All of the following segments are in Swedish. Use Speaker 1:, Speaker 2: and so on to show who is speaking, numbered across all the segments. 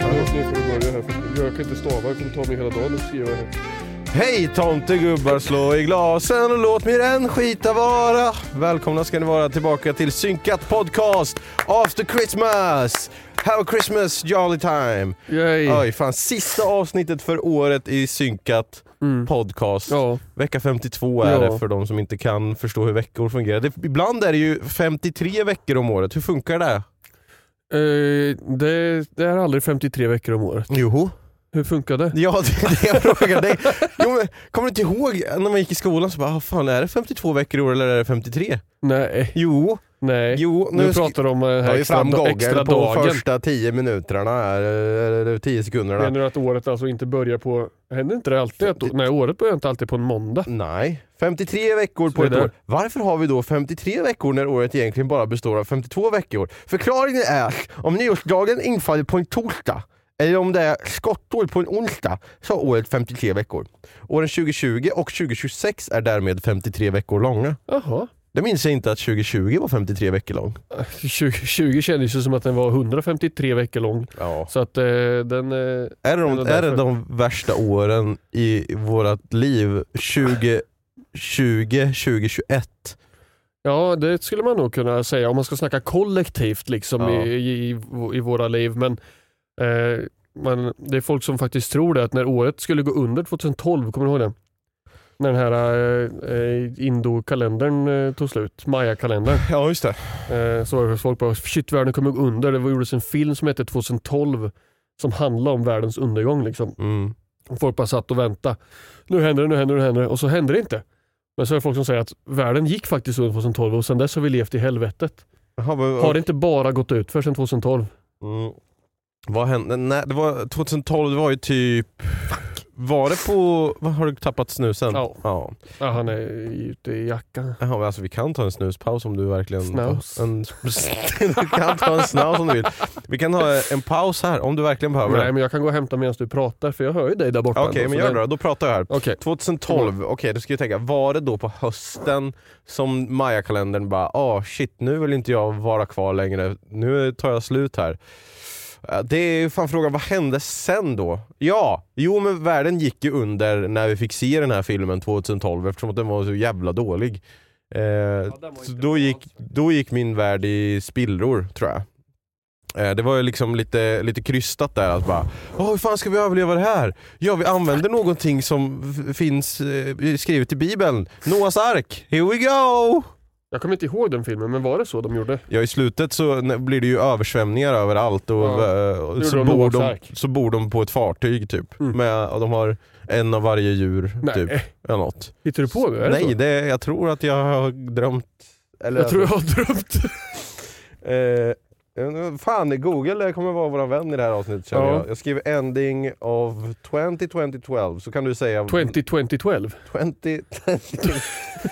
Speaker 1: Jag åker för att börja här, för jag kan inte stava, jag kommer ta mig hela dagen att skriva här.
Speaker 2: Hej tomtegubbar, slå i glasen och låt mig den skita vara. Välkomna ska ni vara tillbaka till Synkat Podcast After Christmas. Have a Christmas jolly time.
Speaker 1: Yay!
Speaker 2: Oj, fan sista avsnittet för året i Synkat Podcast.
Speaker 1: Mm. Ja,
Speaker 2: Vecka 52 är
Speaker 1: Ja.
Speaker 2: det för de som inte kan förstå hur veckor fungerar. Det, ibland är det ju 53 veckor om året, hur funkar det?
Speaker 1: eh, det, det är aldrig 53 veckor om året.
Speaker 2: Joho.
Speaker 1: Hur funkar det?
Speaker 2: Ja, det är det jag frågar dig. Jo, men, kommer du inte ihåg när man gick i skolan så bara, ah, fan är det 52 veckor i år eller är det 53?
Speaker 1: Nej,
Speaker 2: Jo,
Speaker 1: nej.
Speaker 2: jo
Speaker 1: nu pratar du om eh,
Speaker 2: jag
Speaker 1: här
Speaker 2: har ju
Speaker 1: extra,
Speaker 2: framgången
Speaker 1: extra
Speaker 2: på
Speaker 1: dagen.
Speaker 2: första 10 minuterna här, eller 10 sekunderna.
Speaker 1: Menar du att året alltså inte börjar på... Händer inte det alltid? Att, nej, året börjar inte alltid på en måndag.
Speaker 2: Nej, 53 veckor på
Speaker 1: Så är
Speaker 2: ett
Speaker 1: det.
Speaker 2: år. Varför har vi då 53 veckor när året egentligen bara består av 52 veckor? Förklaringen är, om nyårsdagen infaller på en torsdag, eller om det är skottår på en onsdag, så har året 53 veckor. Åren 2020 och 2026 är därmed 53 veckor långa.
Speaker 1: Jaha.
Speaker 2: Det minns jag inte att 2020 var 53 veckor lång.
Speaker 1: 2020 kändes ju som att den var 153 veckor lång.
Speaker 2: Ja.
Speaker 1: Så att eh, den... Eh,
Speaker 2: Är det, de,
Speaker 1: Eller
Speaker 2: är det
Speaker 1: därför.
Speaker 2: de värsta åren i vårt liv? 2020, 2021?
Speaker 1: ja, det skulle man nog kunna säga om man ska snacka kollektivt liksom
Speaker 2: Ja.
Speaker 1: i, i, i våra liv. Men, eh, men det är folk som faktiskt tror det, att när året skulle gå under 2012, kommer du ihåg det? När den här eh, eh, indokalendern eh, tog slut, Maya-kalendern.
Speaker 2: Ja, just det.
Speaker 1: Eh, så var det folk bara shit världen kommer gå under. Det var- gjordes en film som hette 2012 som handlade om världens undergång. Liksom.
Speaker 2: Mm.
Speaker 1: Och folk bara satt och väntade. Nu händer det, nu händer det, nu händer det. Och så hände det inte. Men så är det folk som säger att världen gick faktiskt under 2012 och sedan dess har vi levt i helvetet.
Speaker 2: Jaha, men-
Speaker 1: Har det inte bara gått ut för sedan 2012?
Speaker 2: Mm. Vad hände? Nej, det var 2012, det var ju typ... Var det på... Vad, har du tappat snusen?
Speaker 1: Ja.
Speaker 2: ja.
Speaker 1: Ja, han är ute i jackan.
Speaker 2: Jaha, men alltså, vi kan ta en snuspaus om du verkligen...
Speaker 1: Snaus.
Speaker 2: En, du kan ta en snaus om du vill. Vi kan ha en paus här om du verkligen behöver
Speaker 1: Nej
Speaker 2: det.
Speaker 1: men jag kan gå och hämta medan du pratar för jag hör ju dig där borta.
Speaker 2: Okej,
Speaker 1: ändå,
Speaker 2: men
Speaker 1: så
Speaker 2: gör det
Speaker 1: det-
Speaker 2: då. Då pratar jag här.
Speaker 1: Okej.
Speaker 2: 2012, okej då ska vi tänka, var det då på hösten som Maya-kalendern bara ah shit nu vill inte jag vara kvar längre, nu tar jag slut här. Eh, Det är ju fan frågan, vad hände sen då? Ja, jo men världen gick ju under när vi fick se den här filmen 2012 eftersom att den var så jävla dålig. Eh, så då, gick, då gick min värld i spillror tror jag. Eh, Det var ju liksom lite, lite krystat där att bara Åh, hur fan ska vi överleva det här? Ja, vi använder någonting som f- finns eh, skrivet i bibeln. Noahs ark, here we go!
Speaker 1: Jag kommer inte ihåg den filmen men var det så de gjorde?
Speaker 2: Ja, i slutet så n- blir det ju översvämningar överallt och,
Speaker 1: Ja.
Speaker 2: eh, och
Speaker 1: gjorde
Speaker 2: så,
Speaker 1: de
Speaker 2: bor
Speaker 1: Noahs
Speaker 2: de,
Speaker 1: ark.
Speaker 2: så bor de på ett fartyg typ.
Speaker 1: Mm.
Speaker 2: Med, och de har en av varje djur
Speaker 1: Nej,
Speaker 2: typ. Eller något.
Speaker 1: hittar du på det? Är det
Speaker 2: Nej,
Speaker 1: så?
Speaker 2: det, jag tror att jag har drömt. Eller
Speaker 1: Jag tror jag har drömt.
Speaker 2: Eh, Eh, Fan, Google kommer vara vår vän i det här avsnittet känner
Speaker 1: Ja.
Speaker 2: jag. Jag skriver ending of 202012 så kan du säga
Speaker 1: 202012.
Speaker 2: 20,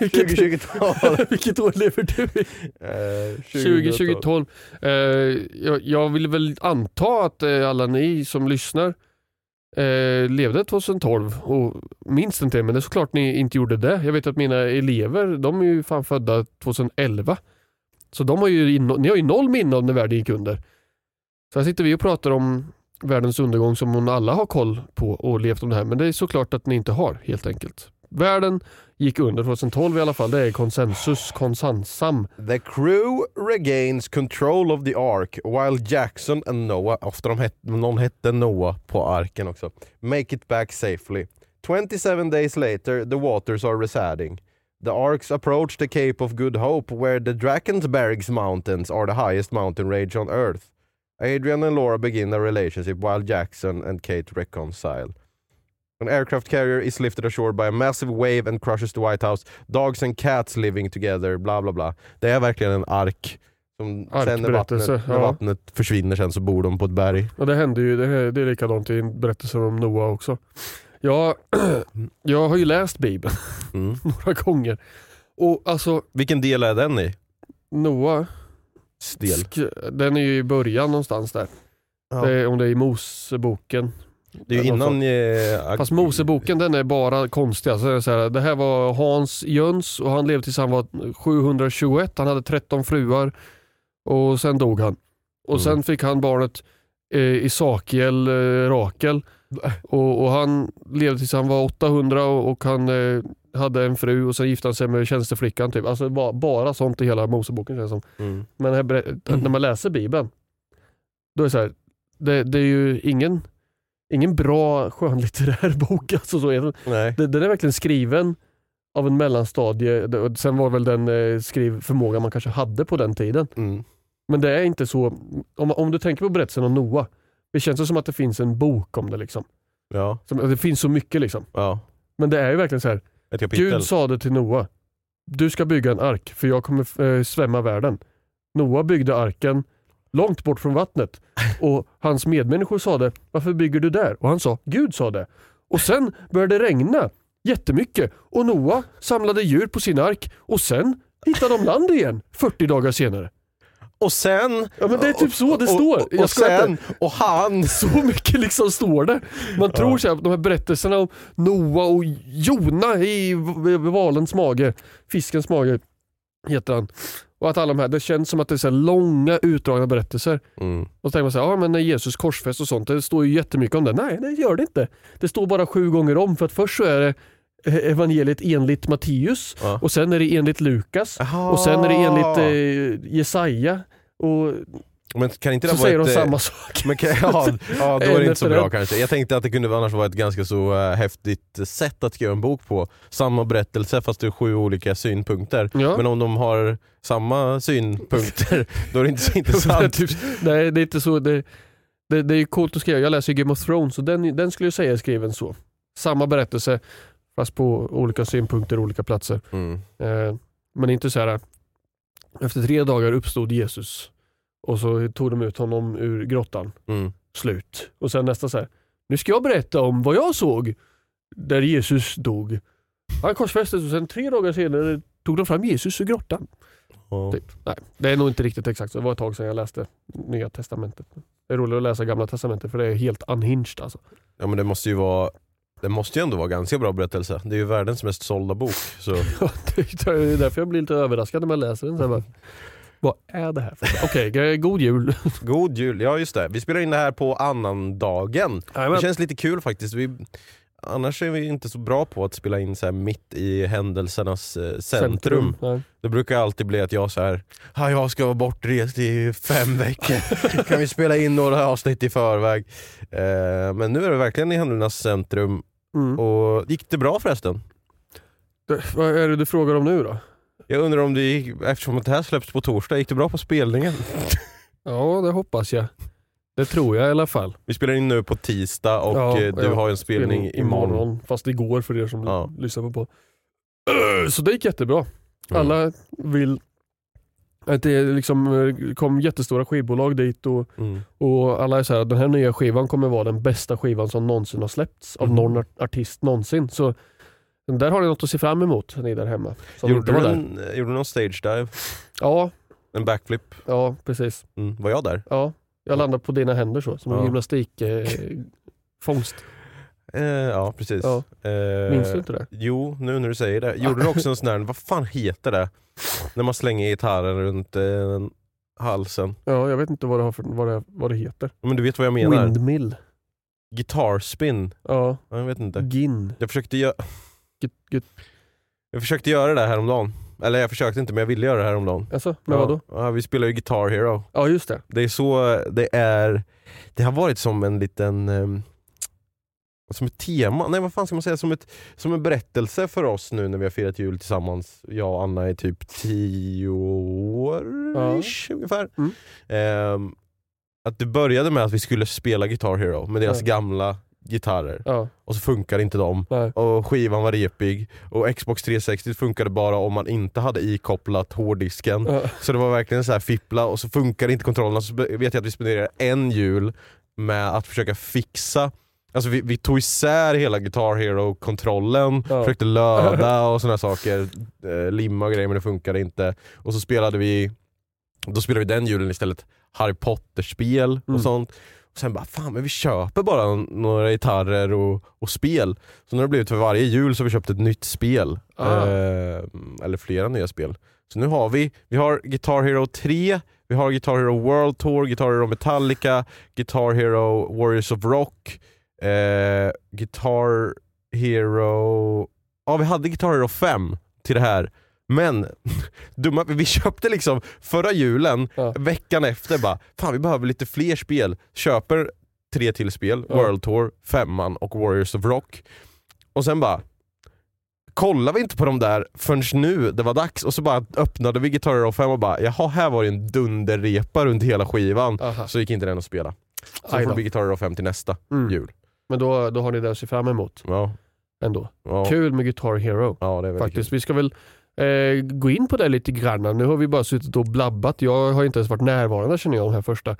Speaker 1: Vilket,
Speaker 2: 2020-tal.
Speaker 1: vilket år lever du i?
Speaker 2: Eh,
Speaker 1: 2012. Eh, jag, jag vill väl anta att eh, alla ni som lyssnar eh, levde 2012 och minns inte det, men det är såklart ni inte gjorde det. Jag vet att mina elever, de är ju fan födda 2011. Så de har ju, inno- ni har ju noll minne om när världen gick under. Så här sitter vi och pratar om världens undergång som hon alla har koll på och levt om det här, men det är såklart att ni inte har helt enkelt. Världen gick under 2012 i alla fall, det är konsensus, konsensam.
Speaker 2: The crew regains control of the ark while Jackson and Noah, ofta de het, någon hette Noah på arken också, make it back safely. 27 days later the waters are receding. The arks approach the Cape of Good Hope where the Drakensbergs mountains are the highest mountain range on earth. Adrian and Laura begin a relationship while Jackson and Kate reconcile. An aircraft carrier is lifted ashore by a massive wave and crushes the White House. Dogs and cats living together, bla bla bla. Det är verkligen en ark. Som sen när vattnet,
Speaker 1: Arkberättelse,
Speaker 2: när
Speaker 1: ja.
Speaker 2: vattnet försvinner sen så bor de på ett berg.
Speaker 1: Ja, det hände ju. Det, här- det är likadant i berättelsen om Noa också. Jag, jag har ju läst Bibeln
Speaker 2: Mm.
Speaker 1: några gånger. Och alltså,
Speaker 2: Vilken del är den i?
Speaker 1: Noa,
Speaker 2: Del.
Speaker 1: sk- den är ju i början någonstans där.
Speaker 2: Ja.
Speaker 1: Det är, om det är i Moseboken.
Speaker 2: Det är ju innan... eh,
Speaker 1: Fast Moseboken den är bara konstig. Alltså, det, är så här, det här var Hans Jöns och han levde tills han var 721. Han hade 13 fruar och sen dog han. Och
Speaker 2: Mm.
Speaker 1: sen fick han barnet eh, Isakiel eh, Rakel. Och, och han levde tills han var 800 och, och han eh, hade en fru och sen gifte han sig med tjänsteflickan. Typ. Alltså bara, bara sånt i hela Moseboken känns det som.
Speaker 2: Mm.
Speaker 1: Men här, berä- när man läser Bibeln, då är det så här, det, det är ju ingen, ingen bra skönlitterär bok. Alltså så är det.
Speaker 2: Nej.
Speaker 1: Den- Den är verkligen skriven av en mellanstadie, Det- och sen var väl den eh, skrivförmåga man kanske hade på den tiden.
Speaker 2: Mm.
Speaker 1: Men det är inte så, om, om du tänker på berättelsen om Noa, det känns ju som att det finns en bok om det. liksom.
Speaker 2: Ja.
Speaker 1: Som, det finns så mycket liksom.
Speaker 2: ja.
Speaker 1: Men det är ju verkligen så här,
Speaker 2: Ett kapitel.
Speaker 1: Gud sa det till Noa. Du ska bygga en ark för jag kommer eh, svämma världen. Noa byggde arken långt bort från vattnet och hans medmänniskor sa det. Varför bygger du där? Och han sa Gud sa det. Och sen började det regna jättemycket och Noa samlade djur på sin ark och sen hittade de land igen 40 dagar senare.
Speaker 2: Och sen...
Speaker 1: Ja men det är typ så det
Speaker 2: och-
Speaker 1: står.
Speaker 2: Och, och,
Speaker 1: Jag skojar inte.
Speaker 2: sen... Och han...
Speaker 1: Så mycket liksom står det. Man tror så här, att de här berättelserna om Noa och Jona i v- v- valens mage, fiskens mage heter han. Och att alla de här, det känns som att det är så här långa utdragna berättelser.
Speaker 2: Mm.
Speaker 1: Och så tänker man så här, ja men när Jesus korsfäst och sånt, det står ju jättemycket om det. Nej, det gör det inte. Det står bara sju gånger om för att först så är det eh, evangeliet enligt Matteus
Speaker 2: Ja.
Speaker 1: och sen är det enligt Lukas och sen är det enligt eh, Jesaja. Och
Speaker 2: Men kan inte det
Speaker 1: så
Speaker 2: vara
Speaker 1: säger de
Speaker 2: ett, eh,
Speaker 1: samma sak.
Speaker 2: Men kan, ja, ja, då är
Speaker 1: En
Speaker 2: det inte så
Speaker 1: efter
Speaker 2: bra
Speaker 1: en.
Speaker 2: kanske. Jag tänkte att det kunde annars vara ett ganska så eh, häftigt sätt att skriva en bok på. Samma berättelse fast det är sju olika synpunkter.
Speaker 1: Ja.
Speaker 2: Men om de har samma synpunkter då är det inte så
Speaker 1: Det är
Speaker 2: intressant.
Speaker 1: typ, nej, det är inte så. Det, det, det är ju coolt att skriva. Jag läser ju Game of Thrones och den, den skulle jag säga är skriven så. Samma berättelse fast på olika synpunkter, olika platser.
Speaker 2: Mm.
Speaker 1: Eh, men inte så här. Efter tre dagar uppstod Jesus och så tog de ut honom ur grottan.
Speaker 2: Mm.
Speaker 1: Slut. Och sen nästa så här. Nu ska jag berätta om vad jag såg där Jesus dog. Han korsfästes och sen tre dagar senare tog de fram Jesus ur grottan.
Speaker 2: Ja.
Speaker 1: Typ. Nej, det är nog inte riktigt exakt så. Det var ett tag sedan jag läste Nya Testamentet. Det är roligt att läsa Gamla Testamentet för det är helt unhinged alltså.
Speaker 2: ja men det måste ju vara det måste ju ändå vara ganska bra berättelse. Det är ju världens mest sålda bok. Så.
Speaker 1: det är därför jag blir lite överraskad när man läser den. Så här, bara, vad är det här för Okej, g- god jul.
Speaker 2: God jul. Ja just det. Vi spelar in det här på annandagen. Det känns lite kul faktiskt. Vi, annars är vi inte så bra på att spela in så här mitt i händelsernas eh, centrum.
Speaker 1: Nej.
Speaker 2: Det brukar alltid bli att jag så här, "Ah, jag ska vara bortrest i fem veckor, kan vi spela in några avsnitt i förväg? Eh, men nu är det verkligen i handlarnas centrum.
Speaker 1: Mm.
Speaker 2: Och gick det bra förresten?
Speaker 1: Det- Vad är det du frågar om nu då?
Speaker 2: Jag undrar om det gick, eftersom att det här släpps på torsdag, gick det bra på spelningen?
Speaker 1: Ja, det hoppas jag. Det tror jag i alla fall.
Speaker 2: Vi spelar in nu på tisdag och
Speaker 1: Ja,
Speaker 2: eh, du
Speaker 1: ja.
Speaker 2: har en spelning, imorgon.
Speaker 1: Fast igår för er som
Speaker 2: Ja. Mm.
Speaker 1: lyssnar på podden. Så det gick jättebra. Alla vill Att det liksom eh, kom jättestora skivbolag dit och,
Speaker 2: Mm.
Speaker 1: och alla är så här, den här nya skivan kommer vara den bästa skivan som någonsin har släppts av
Speaker 2: Mm.
Speaker 1: någon art- artist någonsin. Så där har ni något att se fram emot, ni där hemma. Som
Speaker 2: Gjorde,
Speaker 1: inte var
Speaker 2: du
Speaker 1: där.
Speaker 2: en, gjorde du någon stage dive?
Speaker 1: Ja,
Speaker 2: En backflip?
Speaker 1: ja, precis.
Speaker 2: Mm. Var jag där?
Speaker 1: Ja, jag landade på dina händer så, som en
Speaker 2: Ja.
Speaker 1: gymnastikfångst. Eh, fångst.
Speaker 2: Eh, ja, precis.
Speaker 1: Ja.
Speaker 2: Eh,
Speaker 1: Minns du inte det?
Speaker 2: Jo, nu när du säger det. Gjorde du också en sån där, vad fan heter det? När man slänger gitarren runt eh, halsen.
Speaker 1: Ja, jag vet inte vad det, har för, vad det, vad det heter.
Speaker 2: Men du vet vad jag menar?
Speaker 1: Windmill.
Speaker 2: Guitar spin.
Speaker 1: Ja,
Speaker 2: Ja, Jag vet inte.
Speaker 1: gin.
Speaker 2: Jag försökte, gö-
Speaker 1: Gud, gud.
Speaker 2: jag försökte göra det här häromdagen. Eller jag försökte inte, men jag ville göra det här häromdagen.
Speaker 1: Alltså, men
Speaker 2: ja.
Speaker 1: vadå?
Speaker 2: Ja, vi spelar ju Guitar Hero.
Speaker 1: Ja, just det.
Speaker 2: Det är så, det är, det har varit som en liten, ehm, som ett tema, nej vad fan ska man säga, som, ett, som en berättelse för oss nu när vi har firat jul tillsammans, jag och Anna i typ tio år
Speaker 1: Ja.
Speaker 2: ungefär.
Speaker 1: Mm.
Speaker 2: Ehm, att det började med att vi skulle spela Guitar Hero med deras
Speaker 1: Ja.
Speaker 2: gamla gitarrer
Speaker 1: Ja,
Speaker 2: och så funkar inte de.
Speaker 1: nej.
Speaker 2: Och skivan var repig och Xbox 360 funkade bara om man inte hade ikopplat hårddisken.
Speaker 1: Ja,
Speaker 2: Så det var verkligen så här fippla och så funkade inte kontrollerna. Så vet jag att vi spenderade en jul med att försöka fixa Alltså vi, vi tog isär hela Guitar Hero-kontrollen,
Speaker 1: Ja.
Speaker 2: försökte löda och sådana saker. Eh, limma och grejer men det funkade inte. Och så spelade vi, då spelade vi den julen istället Harry Potter-spel och
Speaker 1: Mm.
Speaker 2: sånt. Och sen bara, fan men vi köper bara n- några gitarrer och, och spel. Så nu har det blivit för varje jul så har vi köpt ett nytt spel.
Speaker 1: Ah.
Speaker 2: Eh, eller flera nya spel. Så nu har vi, vi har Guitar Hero 3, vi har Guitar Hero World Tour, Guitar Hero Metallica, Guitar Hero Warriors of Rock, eh, Guitar Hero... Ja, vi hade Guitar Hero 5 till det här. Men, dumma, vi köpte liksom förra julen,
Speaker 1: Ja.
Speaker 2: veckan efter bara, fan vi behöver lite fler spel. Köper tre till spel,
Speaker 1: Ja.
Speaker 2: World Tour, Femman och Warriors of Rock. Och sen bara, kollar vi inte på de där förrän nu det var dags och så bara öppnade vi Guitar Hero 5 och bara jaha här var det en dunderrepa runt hela skivan.
Speaker 1: aha.
Speaker 2: Så gick inte den att spela. Så
Speaker 1: Aj
Speaker 2: får det
Speaker 1: då.
Speaker 2: bli Guitar Hero 5 till nästa
Speaker 1: Mm.
Speaker 2: jul.
Speaker 1: Men då, då har ni det att se fram emot
Speaker 2: Ja,
Speaker 1: ändå.
Speaker 2: ja,
Speaker 1: Kul med Guitar Hero.
Speaker 2: ja det är väldigt
Speaker 1: Faktiskt. Vi ska väl eh, gå in på det lite grann. Nu har vi bara suttit och blabbat. Jag har inte ens varit närvarande känner jag de här första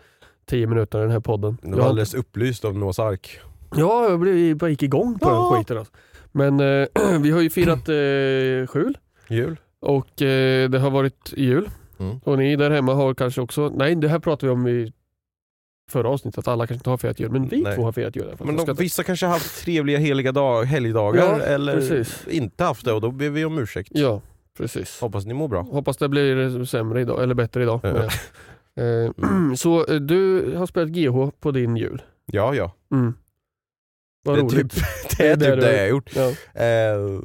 Speaker 1: tio minuterna i den här podden.
Speaker 2: kul. Du
Speaker 1: Jag
Speaker 2: var
Speaker 1: har-
Speaker 2: alldeles upplyst av Noahs ark.
Speaker 1: Ja, jag blev, bara gick igång på
Speaker 2: Ja.
Speaker 1: den skiten. Alltså. Men eh, vi har ju firat eh, skjul
Speaker 2: Jul?
Speaker 1: och eh, det har varit jul.
Speaker 2: Mm.
Speaker 1: Och ni där hemma har kanske också, nej det här pratade vi om i förra avsnittet, att alla kanske inte har firat jul. Men vi
Speaker 2: Nej.
Speaker 1: två har firat jul i alla fall.
Speaker 2: Men
Speaker 1: Jag ska
Speaker 2: de,
Speaker 1: inte-
Speaker 2: vissa kanske har haft trevliga heliga dag, helgdagar
Speaker 1: Ja,
Speaker 2: eller
Speaker 1: precis.
Speaker 2: inte haft det och då ber vi om ursäkt.
Speaker 1: Ja, precis.
Speaker 2: Hoppas ni mår bra.
Speaker 1: Hoppas det blir sämre idag, eller bättre idag.
Speaker 2: Ja.
Speaker 1: menar jag. Eh, Så eh, du har spelat GH på din jul.
Speaker 2: Ja, ja.
Speaker 1: Mm. Vad
Speaker 2: det, är
Speaker 1: roligt.
Speaker 2: typ, det är
Speaker 1: Det är
Speaker 2: typ
Speaker 1: det
Speaker 2: det
Speaker 1: du-
Speaker 2: jag har gjort.
Speaker 1: Ja.
Speaker 2: Eh,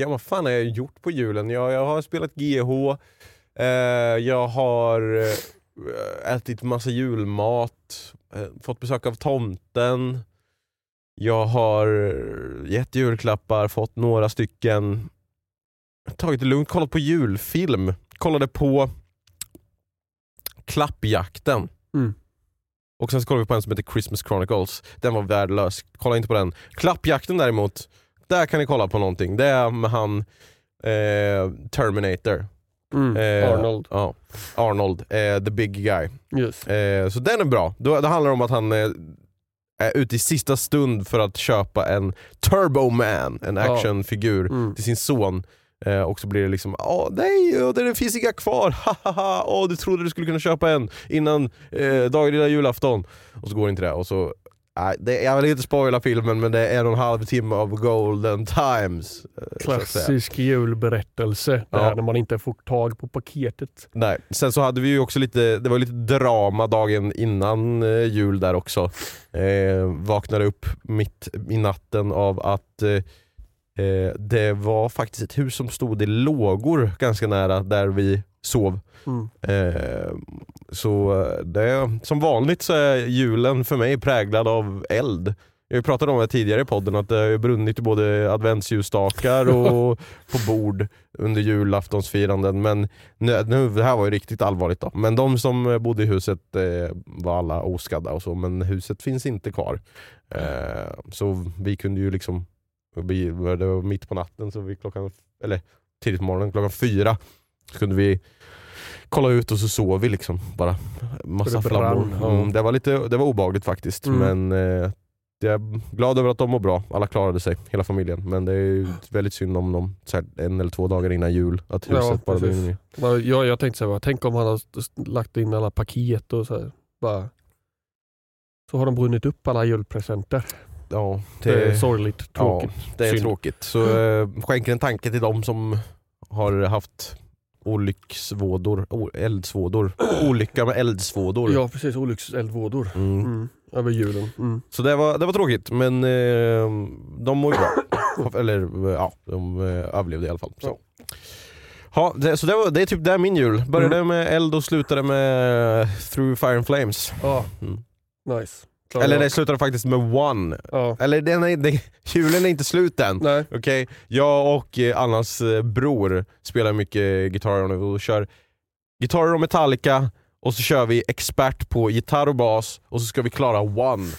Speaker 2: ja, vad fan har jag gjort på julen? Jag, jag har spelat GH, eh, jag har eh, ätit massa julmat, eh, fått besök av tomten, jag har gett julklappar, fått några stycken, tagit det lugnt, kollat på julfilm, kollade på Klappjakten.
Speaker 1: Mm.
Speaker 2: Och sen så kollade vi på en som heter Christmas Chronicles. Den var värdelös. Kolla inte på den. Klappjakten däremot, där kan ni kolla på någonting. Det är med han eh, Terminator.
Speaker 1: Mm.
Speaker 2: Eh,
Speaker 1: Arnold.
Speaker 2: Ja, Arnold, eh, the big guy.
Speaker 1: Yes.
Speaker 2: Eh, så den är bra. Då, det handlar om att han eh, är ute i sista stund för att köpa en Turbo Man, en
Speaker 1: Ja.
Speaker 2: actionfigur
Speaker 1: Mm.
Speaker 2: till sin son. Eh, och så blir det liksom, åh nej, åh, det det finns inga kvar, hahaha, åh du trodde du skulle kunna köpa en innan eh, dagen innan julafton. Och så går inte det. Och så, nej, det, jag vill inte spoila filmen men det är en och en halv timme av golden times. eh, så att säga.
Speaker 1: Klassisk julberättelse. Det här
Speaker 2: Ja.
Speaker 1: när man inte får tag på paketet.
Speaker 2: Nej. Sen så hade vi ju också lite, det var lite drama dagen innan eh, jul där också. Eh, vaknade upp mitt i natten av att eh, eh, det var faktiskt ett hus som stod i lågor ganska nära där vi sov.
Speaker 1: Mm.
Speaker 2: Eh, så eh, det, som vanligt så är julen för mig präglad av eld. Jag pratade om det tidigare i podden att det har ju brunnit i både adventsljusstakar och på bord under julaftonsfiranden. Men nu, nu, det här var ju riktigt allvarligt då. Men de som bodde i huset eh, var alla oskadda och så, men huset finns inte kvar. Eh, så vi kunde ju liksom, vi, det var mitt på natten, så vi klockan, eller tidigt på morgonen, klockan fyra, så kunde vi kollade ut och så sov vi liksom. Bara massa
Speaker 1: Det brann.
Speaker 2: flammor. Mm, det, var lite, det var obehagligt faktiskt.
Speaker 1: Mm.
Speaker 2: Men eh, jag är glad över att de mår bra. Alla klarade sig, hela familjen. Men det är ju väldigt synd om dem så här, en eller två dagar innan jul. Att
Speaker 1: Ja,
Speaker 2: huset bara
Speaker 1: precis.
Speaker 2: brinner ner.
Speaker 1: Ja, Jag, jag tänkte så här, bara, tänk om han har s- lagt in alla paket och så här. Bara, så har de brunnit upp alla julpresenter.
Speaker 2: Ja,
Speaker 1: Det, är sorgligt, tråkigt.
Speaker 2: Ja, det är
Speaker 1: Synd.
Speaker 2: tråkigt. Så eh, skänk en tanke till de som har haft olycksvådor, o- eldsvådor. Olycka med eldsvådor.
Speaker 1: Ja, precis. Olyckseldvådor.
Speaker 2: Mm.
Speaker 1: Mm. Över julen. Mm.
Speaker 2: Så det var, det var tråkigt, men eh, de mår ju bra. Eller eh, ja, de eh, överlevde i alla fall. Så. Ja, det, så det, var, det är typ där min jul. Började med eld och slutade med eh, Through Fire and Flames.
Speaker 1: Ja,
Speaker 2: Mm.
Speaker 1: nice. Klarar
Speaker 2: Eller
Speaker 1: jag.
Speaker 2: det slutade faktiskt med One.
Speaker 1: Ja.
Speaker 2: Eller den är, den, julen är inte slut än.
Speaker 1: Nej.
Speaker 2: Okej, jag och eh, Annas eh, bror spelar mycket gitarrer nu och kör gitarrer och Metallica och så kör vi expert på gitarr och bas och så ska vi klara One.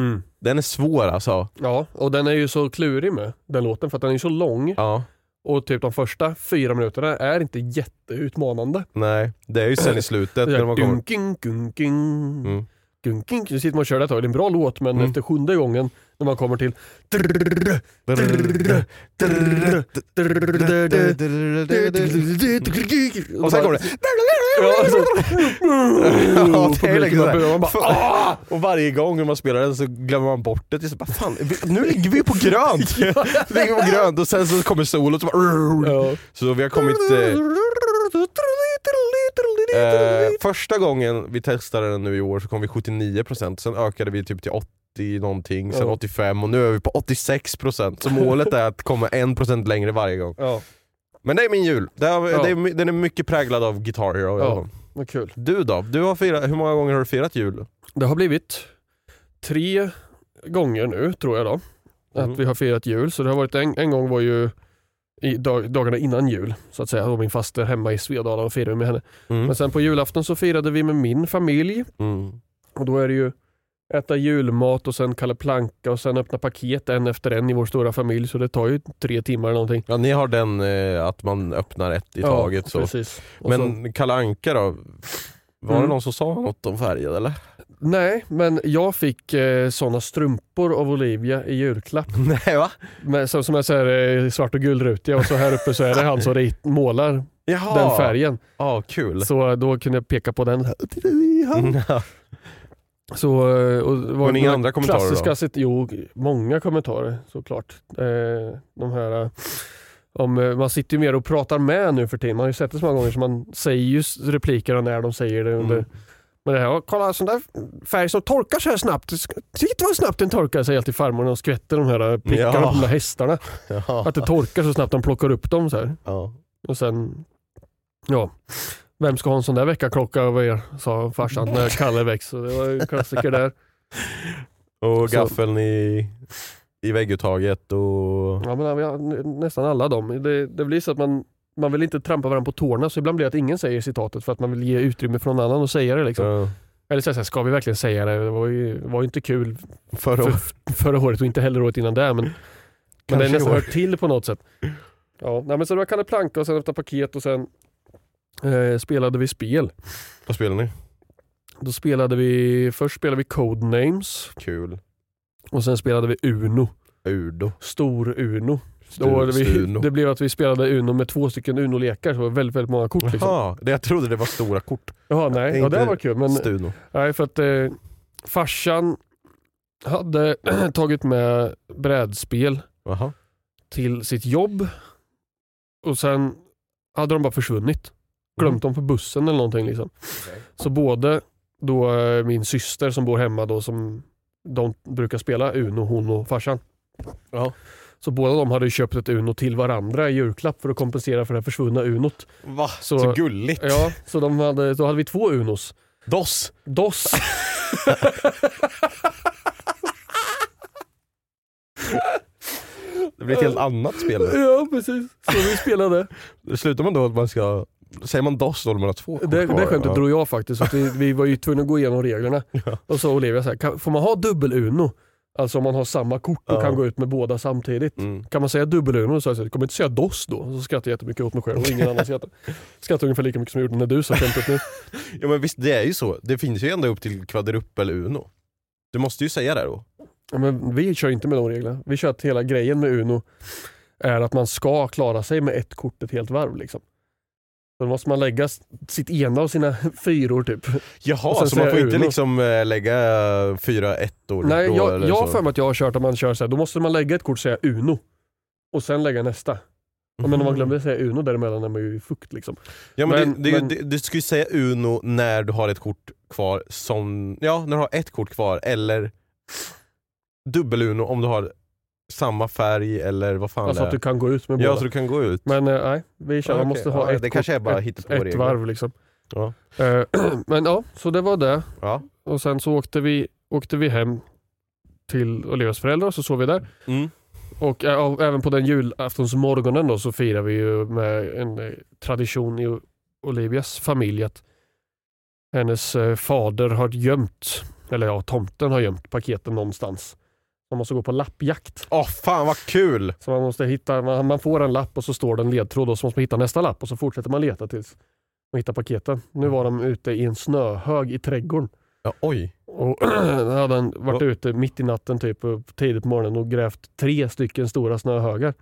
Speaker 1: Mm.
Speaker 2: Den är svår alltså.
Speaker 1: Ja, och den är ju så klurig med den låten för att den är ju så lång
Speaker 2: Ja,
Speaker 1: och typ de första fyra minuterna är inte jätteutmanande.
Speaker 2: nej. Det är ju sen i slutet
Speaker 1: Det är
Speaker 2: när man kommer.
Speaker 1: gunking, gunking,
Speaker 2: Mm.
Speaker 1: gunking. Nu sitter man och kör det ett tag. Det är en bra låt men
Speaker 2: Mm.
Speaker 1: efter sjunde gången när man kommer till
Speaker 2: Och sen kommer det.
Speaker 1: Ja, så-
Speaker 2: Ja, det är liksom
Speaker 1: Publiken
Speaker 2: så här.
Speaker 1: bara- man bara,
Speaker 2: Fan. "Ah!" Och varje gång när man spelar den så glömmer man bort det. det är så bara, fan, vi- nu ligger vi på grönt! Vi ligger på grönt och sen så kommer solet och så bara...
Speaker 1: Ja.
Speaker 2: Så vi har kommit... Eh, Eh, första gången vi testade den nu i år så kom vi 79%, sen ökade vi typ till 80 någonting, sen
Speaker 1: Ja.
Speaker 2: 85 och nu är vi på 86%. Så målet är att komma 1% längre varje gång.
Speaker 1: Ja,
Speaker 2: Men det är min jul. Det är,
Speaker 1: Ja.
Speaker 2: det är, my- den är mycket präglad av Guitar Hero.
Speaker 1: Ja. vad kul.
Speaker 2: Du då? Du har firat, hur många gånger har du firat jul?
Speaker 1: Det har blivit tre gånger nu tror jag då. Att
Speaker 2: Mm.
Speaker 1: vi har firat jul. Så det har varit en, en gång var ju i dag, dagarna innan jul så att säga. Då var min faster hemma i Svedala och firade med henne. Men
Speaker 2: Mm.
Speaker 1: sen på julafton så firade vi med min familj.
Speaker 2: Mm.
Speaker 1: Och då är det ju äta julmat och sen kalla planka och sen öppna paket en efter en i vår stora familj. Så det tar ju tre timmar eller någonting.
Speaker 2: Ja, ni har den eh, att man öppnar ett i taget. Så.
Speaker 1: Precis. Och så,
Speaker 2: Men Kalle Anka då? Var det
Speaker 1: Mm.
Speaker 2: någon som sa något om färgen eller?
Speaker 1: nej, men jag fick eh, sådana strumpor av Olivia i julklapp.
Speaker 2: Nej va?
Speaker 1: Men som, som är så här, eh, svart och guldrutiga och så här uppe så är det han som rit, målar
Speaker 2: Jaha!
Speaker 1: den färgen.
Speaker 2: Ja, kul.
Speaker 1: Så då kunde jag peka på den.
Speaker 2: Mm.
Speaker 1: Så, eh, och det var
Speaker 2: Men inga
Speaker 1: några
Speaker 2: andra kommentarer
Speaker 1: klassiska
Speaker 2: då?
Speaker 1: sit- Jo, många kommentarer såklart. Eh, de här, eh, om, eh, man sitter ju mer och pratar med nu för tiden. Man har ju sett det så många gånger så man säger ju s- repliker och när de säger det. Under,
Speaker 2: Mm.
Speaker 1: Men det här, och kolla sån där färg som torkar så här snabbt. Titta vad snabbt den torkar, säger alltid farmor när de skvätter de här eh, prickarna
Speaker 2: Ja.
Speaker 1: på de där hästarna.
Speaker 2: Ja.
Speaker 1: Att det torkar så snabbt de plockar upp dem så här.
Speaker 2: Ja.
Speaker 1: Och sen, ja. Vem ska ha en sån där väckarklocka av er? Sa farsan när Kalle väcks. Så det var ju en klassiker där.
Speaker 2: Och
Speaker 1: Så-
Speaker 2: gaffeln i, i vägguttaget och...
Speaker 1: Ja, men vi har nä- nästan alla dem. Det, det blir så att man, man vill inte trampa varandra på tårna så ibland blir det att ingen säger citatet för att man vill ge utrymme för någon annan att säga det. Liksom.
Speaker 2: Ja.
Speaker 1: Eller så här, så här, ska vi verkligen säga det? Det var ju, var ju inte kul
Speaker 2: Förra
Speaker 1: för,
Speaker 2: året.
Speaker 1: förra året och inte heller året innan det. Men, men det
Speaker 2: Kanske
Speaker 1: är
Speaker 2: i
Speaker 1: nästan
Speaker 2: år.
Speaker 1: hört till på något sätt. Ja, nej, men så det var Kalle Planka och sen efter paket och sen eh, spelade vi spel.
Speaker 2: Vad spelar ni?
Speaker 1: Då spelade vi, först spelade vi Codenames
Speaker 2: Kul.
Speaker 1: och sen spelade vi Uno.
Speaker 2: Udo.
Speaker 1: Stor Uno.
Speaker 2: Stu,
Speaker 1: Då var det, vi,
Speaker 2: Stuno.
Speaker 1: det blev att vi spelade Uno med två stycken Uno-lekar, så det var väldigt, väldigt många kort. Liksom.
Speaker 2: Jaha, det, jag trodde det var stora kort.
Speaker 1: Jaha, nej. Ja,
Speaker 2: Inte
Speaker 1: det var kul. Men,
Speaker 2: Stuno.
Speaker 1: nej, för att eh, farsan hade tagit med brädspel
Speaker 2: Jaha.
Speaker 1: till sitt jobb och sen hade de bara försvunnit. Glömt dem på bussen eller någonting. Liksom. Så både då eh, min syster som bor hemma då som de brukar spela Uno, hon och farsan.
Speaker 2: Ja.
Speaker 1: Så båda de hade ju köpt ett Uno till varandra i julklapp för att kompensera för det här försvunna Unot.
Speaker 2: Va?
Speaker 1: Så-
Speaker 2: Så, gulligt.
Speaker 1: Ja, så de hade, då hade vi två Unos.
Speaker 2: Dos.
Speaker 1: DOS.
Speaker 2: Det blir ett helt annat spel.
Speaker 1: ja, precis. Så vi spelade.
Speaker 2: Slutar man då att man ska... Säger man dos då när man har två kort
Speaker 1: Det,
Speaker 2: kvar?
Speaker 1: det skämtet
Speaker 2: Ja.
Speaker 1: drog jag faktiskt. Så att vi, vi var ju tvungna att gå igenom reglerna. Och så Olivia så här, kan, får man ha dubbel Uno? Alltså om man har samma kort och
Speaker 2: Ja.
Speaker 1: kan gå ut med båda samtidigt.
Speaker 2: Mm.
Speaker 1: Kan man säga dubbelurnor så jag kommer inte säga DOS då. Så skrattar jag jättemycket åt mig själv och ingen annan skrattar. Skrattar ungefär lika mycket som jag gjorde när du sa skämtet nu.
Speaker 2: Ja men visst, det är ju så. Det finns ju ända upp till kvadrupel uno. Du måste ju säga det då.
Speaker 1: Ja, men vi kör inte med de reglerna. Vi kör att hela grejen med Uno är att man ska klara sig med ett kort ett helt varv. Liksom. Då måste man lägga s- sitt ena av sina fyror typ.
Speaker 2: Jaha,
Speaker 1: Och sen
Speaker 2: så man
Speaker 1: säga
Speaker 2: får inte
Speaker 1: uno.
Speaker 2: liksom eh, lägga eh, fyra ettor
Speaker 1: Nej,
Speaker 2: då?
Speaker 1: jag
Speaker 2: eller
Speaker 1: jag har
Speaker 2: så.
Speaker 1: för mig att jag har kört att man kör så här, då måste man lägga ett kort och säga Uno och sen lägga nästa. Men om man glömde säga Uno däremellan är man ju i fukt liksom.
Speaker 2: Ja, men det,
Speaker 1: Men-
Speaker 2: det, är ju-
Speaker 1: men-
Speaker 2: det, du ska ju säga Uno när du har ett kort kvar som... Ja, när du har ett kort kvar eller dubbel-Uno om du har samma färg eller vad fan
Speaker 1: Alltså
Speaker 2: det
Speaker 1: att
Speaker 2: är.
Speaker 1: du kan gå ut med båda.
Speaker 2: ja, så du kan gå ut.
Speaker 1: Men eh, nej, vi kör,
Speaker 2: Ja,
Speaker 1: man
Speaker 2: okej.
Speaker 1: måste ha
Speaker 2: Ja,
Speaker 1: ett,
Speaker 2: det
Speaker 1: kort,
Speaker 2: kanske är bara
Speaker 1: ett,
Speaker 2: hittepå
Speaker 1: ett
Speaker 2: regler.
Speaker 1: varv liksom.
Speaker 2: Ja.
Speaker 1: Eh, men ja, så det var det.
Speaker 2: Ja.
Speaker 1: Och sen så åkte vi, åkte vi hem till Olivias föräldrar och så sov vi där.
Speaker 2: Mm.
Speaker 1: Och ä- av- även på den julaftonsmorgonen då så firar vi ju med en eh, tradition i O- Olivias familj att hennes eh, fader har gömt, eller ja, tomten har gömt paketen någonstans. Man måste gå på lappjakt.
Speaker 2: Åh fan vad kul!
Speaker 1: Så man måste hitta, man man får en lapp och så står det en ledtråd och så måste man hitta nästa lapp och så fortsätter man leta tills man hittar paketen. Nu var de ute i en snöhög i trädgården.
Speaker 2: Ja, oj.
Speaker 1: Och då hade han varit ute mitt i natten typ och tidigt på morgonen och grävt tre stycken stora snöhögar.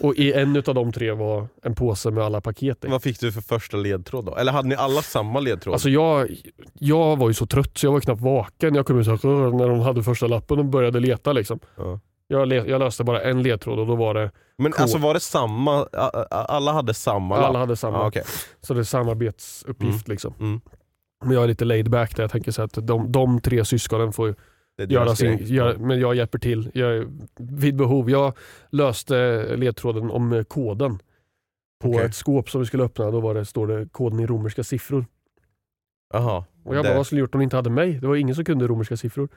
Speaker 1: Och i en av de tre var en påse med alla paket i.
Speaker 2: Vad fick du för första ledtråd då? Eller hade ni alla samma ledtråd?
Speaker 1: Alltså jag, jag var ju så trött så jag var knappt vaken. Jag kom ut så här, "Åh", när de hade första lappen och började leta. Liksom.
Speaker 2: Ja.
Speaker 1: Jag, le- jag löste bara en ledtråd och då var det
Speaker 2: men
Speaker 1: cool.
Speaker 2: alltså var det samma? a- a- Alla hade samma?
Speaker 1: alla
Speaker 2: lapp?
Speaker 1: hade samma.
Speaker 2: Ja, Ah, okej.
Speaker 1: Så det är samarbetsuppgift. Liksom.
Speaker 2: Mm.
Speaker 1: Men jag är lite laid back där. Jag tänker så här att de, de tre syskonen får ju
Speaker 2: Det är
Speaker 1: göra
Speaker 2: deras
Speaker 1: sin,
Speaker 2: grej.
Speaker 1: göra, men jag hjälper till jag, vid behov. Jag löste ledtråden om eh, koden på
Speaker 2: Okej.
Speaker 1: ett skåp som vi skulle öppna. Då var det, står det koden i romerska siffror.
Speaker 2: Jaha.
Speaker 1: Och jag
Speaker 2: Det-
Speaker 1: bara, vad skulle jag gjort om ni inte hade mig? Det var ingen som kunde romerska siffror.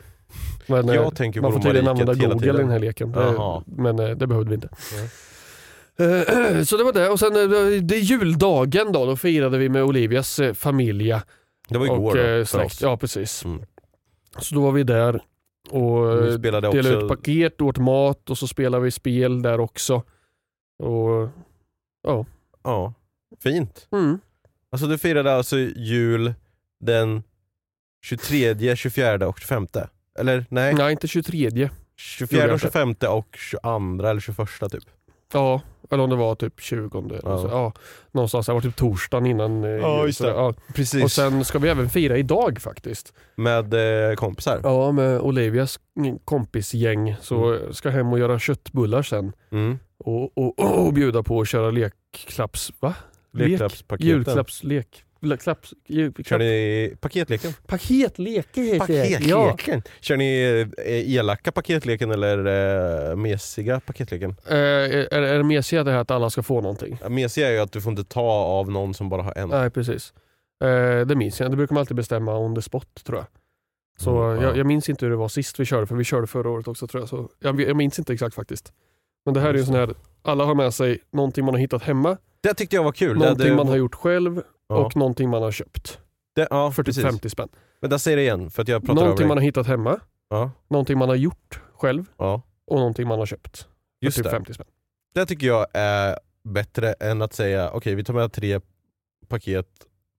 Speaker 1: Men, eh,
Speaker 2: jag tänker på
Speaker 1: man får tydligen
Speaker 2: romariket
Speaker 1: använda
Speaker 2: hela
Speaker 1: Google i
Speaker 2: tiden.
Speaker 1: den här leken. Det,
Speaker 2: Jaha.
Speaker 1: men eh, det behövde vi inte. Eh, Så det var det. Och sen eh, det är juldagen då. Då firade vi med Olivias eh, familja.
Speaker 2: Det var
Speaker 1: och
Speaker 2: igår då,
Speaker 1: eh,
Speaker 2: för
Speaker 1: släkt.
Speaker 2: oss.
Speaker 1: Ja, precis.
Speaker 2: Mm.
Speaker 1: Så då var vi där. Och
Speaker 2: Vi
Speaker 1: eh,
Speaker 2: spelade
Speaker 1: delade
Speaker 2: också...
Speaker 1: ut paket, åt mat och så spelade vi spel där också. Och
Speaker 2: Ja. Fint.
Speaker 1: mm,
Speaker 2: Alltså du firade alltså jul den 23, 24 och 25? Eller nej,
Speaker 1: nej inte 23.
Speaker 2: 24, och
Speaker 1: inte.
Speaker 2: 25 och 22 eller 21 typ.
Speaker 1: Ja, eller om det var typ 20. Eller
Speaker 2: Ja.
Speaker 1: Så, ja, någonstans. Det var typ torsdagen innan eh,
Speaker 2: Ja,
Speaker 1: jul,
Speaker 2: just
Speaker 1: så
Speaker 2: det.
Speaker 1: Ja.
Speaker 2: Precis.
Speaker 1: Och sen ska vi även fira idag faktiskt.
Speaker 2: Med eh, kompisar.
Speaker 1: Ja, med Olivias kompisgäng. Så ska hem och göra köttbullar sen.
Speaker 2: Mm.
Speaker 1: Och, och, och, bjuda på att köra lekklapps... Va? Lek.
Speaker 2: Lekklappspaketen.
Speaker 1: Julklappslek. Le- Klapps,
Speaker 2: Kör
Speaker 1: julklapp,
Speaker 2: ni paketleken?
Speaker 1: paketleken heter det. Ja.
Speaker 2: Paketleken? Kör ni eh, elaka paketleken eller eh, mesiga paketleken?
Speaker 1: Eh, är, är det mesiga det här att alla ska få någonting?
Speaker 2: Ja, Mesiga är ju att du får inte ta av någon som bara har en.
Speaker 1: Nej, precis. Eh, det minns jag. Det brukar man alltid bestämma on the spot tror jag. Så
Speaker 2: Mm, ja.
Speaker 1: jag, jag minns inte hur det var sist vi körde, för vi körde förra året också tror jag. Så jag, jag minns inte exakt faktiskt. Men det här är ju en sån här, alla har med sig någonting man har hittat hemma,
Speaker 2: Det tyckte jag var kul.
Speaker 1: någonting
Speaker 2: det,
Speaker 1: man har gjort själv
Speaker 2: ja.
Speaker 1: och någonting man har köpt.
Speaker 2: det, ja,
Speaker 1: För typ
Speaker 2: precis.
Speaker 1: 50 spänn.
Speaker 2: Men där säger det igen för att jag pratar
Speaker 1: Någonting
Speaker 2: över
Speaker 1: man
Speaker 2: dig.
Speaker 1: har hittat hemma,
Speaker 2: Ja,
Speaker 1: någonting man har gjort själv
Speaker 2: ja.
Speaker 1: och någonting man har köpt.
Speaker 2: Just
Speaker 1: för typ
Speaker 2: det.
Speaker 1: 50 spänn.
Speaker 2: Det tycker jag är bättre än att säga okej vi tar med tre paket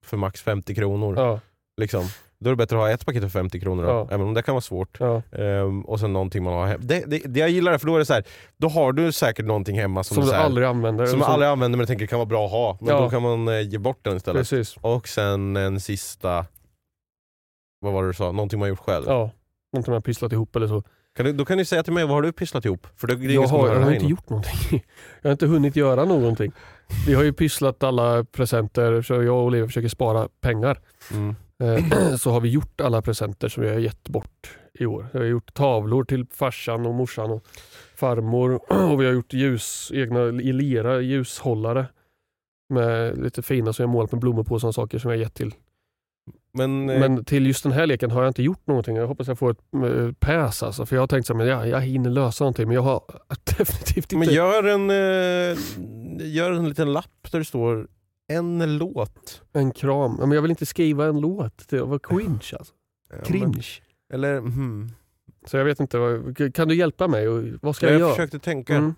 Speaker 2: för max 50 kronor.
Speaker 1: Ja,
Speaker 2: Liksom. Då är det bättre att ha ett paket för 50 kronor, då,
Speaker 1: Ja.
Speaker 2: även om det kan vara svårt.
Speaker 1: ja.
Speaker 2: Ehm, och sen någonting man har hemma. Det, det, det jag gillar det, för då är det så här, då har du säkert någonting hemma som,
Speaker 1: Som
Speaker 2: du,
Speaker 1: du
Speaker 2: så här,
Speaker 1: aldrig använder.
Speaker 2: som jag aldrig använder men tänker kan vara bra att ha. Men
Speaker 1: Ja.
Speaker 2: då kan man eh, ge bort den istället.
Speaker 1: Precis.
Speaker 2: Och sen en sista, vad var det du sa, någonting man gjort själv.
Speaker 1: Ja, någonting man har pysslat ihop eller så.
Speaker 2: Kan du, då kan du säga till mig, vad har du pysslat ihop? För det, det är
Speaker 1: jag
Speaker 2: ingen som
Speaker 1: har,
Speaker 2: hör
Speaker 1: jag har
Speaker 2: här
Speaker 1: inte
Speaker 2: inne.
Speaker 1: gjort någonting. Jag har inte hunnit göra någonting. Vi har ju pysslat alla presenter, så jag och Olivia försöker spara pengar.
Speaker 2: Mm.
Speaker 1: Eh, Så har vi gjort alla presenter som vi har gett bort i år. Jag har gjort tavlor till farsan och morsan och farmor och vi har gjort ljus, egna i lera, ljushållare med lite fina som jag målat med blommor på och sådana saker som jag gett till.
Speaker 2: Men, eh,
Speaker 1: Men till just den här leken har jag inte gjort någonting. Jag hoppas jag får ett eh, pass alltså. För jag har tänkt så här, men jag, jag hinner lösa någonting men jag har definitivt inte
Speaker 2: Men gör en, eh, gör en liten lapp där det står en låt.
Speaker 1: En kram. Ja, Men jag vill inte skriva en låt. Det var cringe alltså.
Speaker 2: Ja, men-
Speaker 1: Cringe.
Speaker 2: Ehm, eller hmm.
Speaker 1: Så jag vet inte, vad- kan du hjälpa mig? Och Vad ska
Speaker 2: Jag,
Speaker 1: jag, göra?
Speaker 2: försökte tänka
Speaker 1: Mm.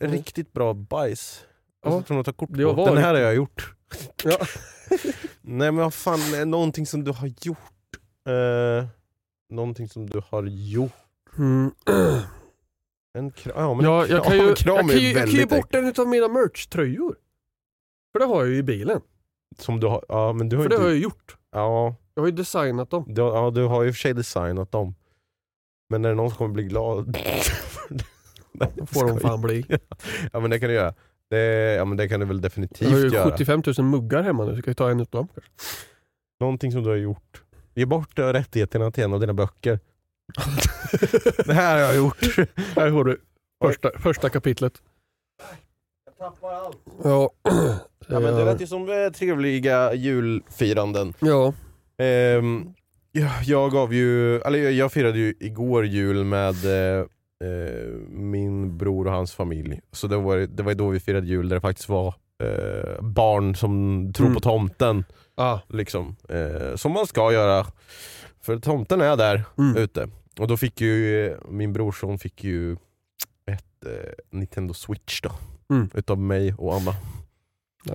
Speaker 2: en riktigt bra bajs.
Speaker 1: Ja.
Speaker 2: Alltså, som de tar kort på.
Speaker 1: Det har varit-
Speaker 2: Den här har jag gjort.
Speaker 1: Ja.
Speaker 2: Nej men vad fan, är någonting som du har gjort. Eh, någonting som du har gjort.
Speaker 1: Mm.
Speaker 2: En kram, ja, men
Speaker 1: Ja,
Speaker 2: en
Speaker 1: jag
Speaker 2: kram,
Speaker 1: kan ju,
Speaker 2: en
Speaker 1: jag
Speaker 2: kram
Speaker 1: kan
Speaker 2: är
Speaker 1: ju, jag kan ju
Speaker 2: väldigt
Speaker 1: bort en av mina merch-tröjor. För det har jag ju i bilen.
Speaker 2: äck- Som du har, ja men du har
Speaker 1: För det
Speaker 2: inte...
Speaker 1: har jag ju gjort.
Speaker 2: Ja,
Speaker 1: Jag har ju designat dem.
Speaker 2: du, ja, du har ju i och för sig designat dem. Men är det någon som kommer bli glad? Nej,
Speaker 1: Då får de
Speaker 2: skoj.
Speaker 1: fan bli.
Speaker 2: Ja men det kan du göra. Det, ja, men det kan du väl
Speaker 1: Jag har
Speaker 2: definitivt
Speaker 1: ju
Speaker 2: göra.
Speaker 1: 75 000 muggar hemma nu, så kan jag ta en utav dem. kanske.
Speaker 2: Någonting som du har gjort. Ge bort eh, rättigheterna till en av dina böcker. det här har jag gjort.
Speaker 1: Här har du första, första kapitlet.
Speaker 2: Jag tappar allt.
Speaker 1: Ja.
Speaker 2: Ja, men det lät ju som eh, trevliga julfiranden.
Speaker 1: Ja.
Speaker 2: Ehm, ja, jag gav ju, eller jag, jag firade ju igår jul med eh, eh, min bror och hans familj. Så det var, det var ju då vi firade jul där det faktiskt var eh, barn som tror
Speaker 1: Mm.
Speaker 2: på tomten.
Speaker 1: Ah.
Speaker 2: liksom. Eh, som man ska göra. För tomten är där
Speaker 1: Mm.
Speaker 2: ute. Och då fick ju eh, min brorson fick ju ett eh, Nintendo Switch då.
Speaker 1: Mm.
Speaker 2: Utav mig och Anna.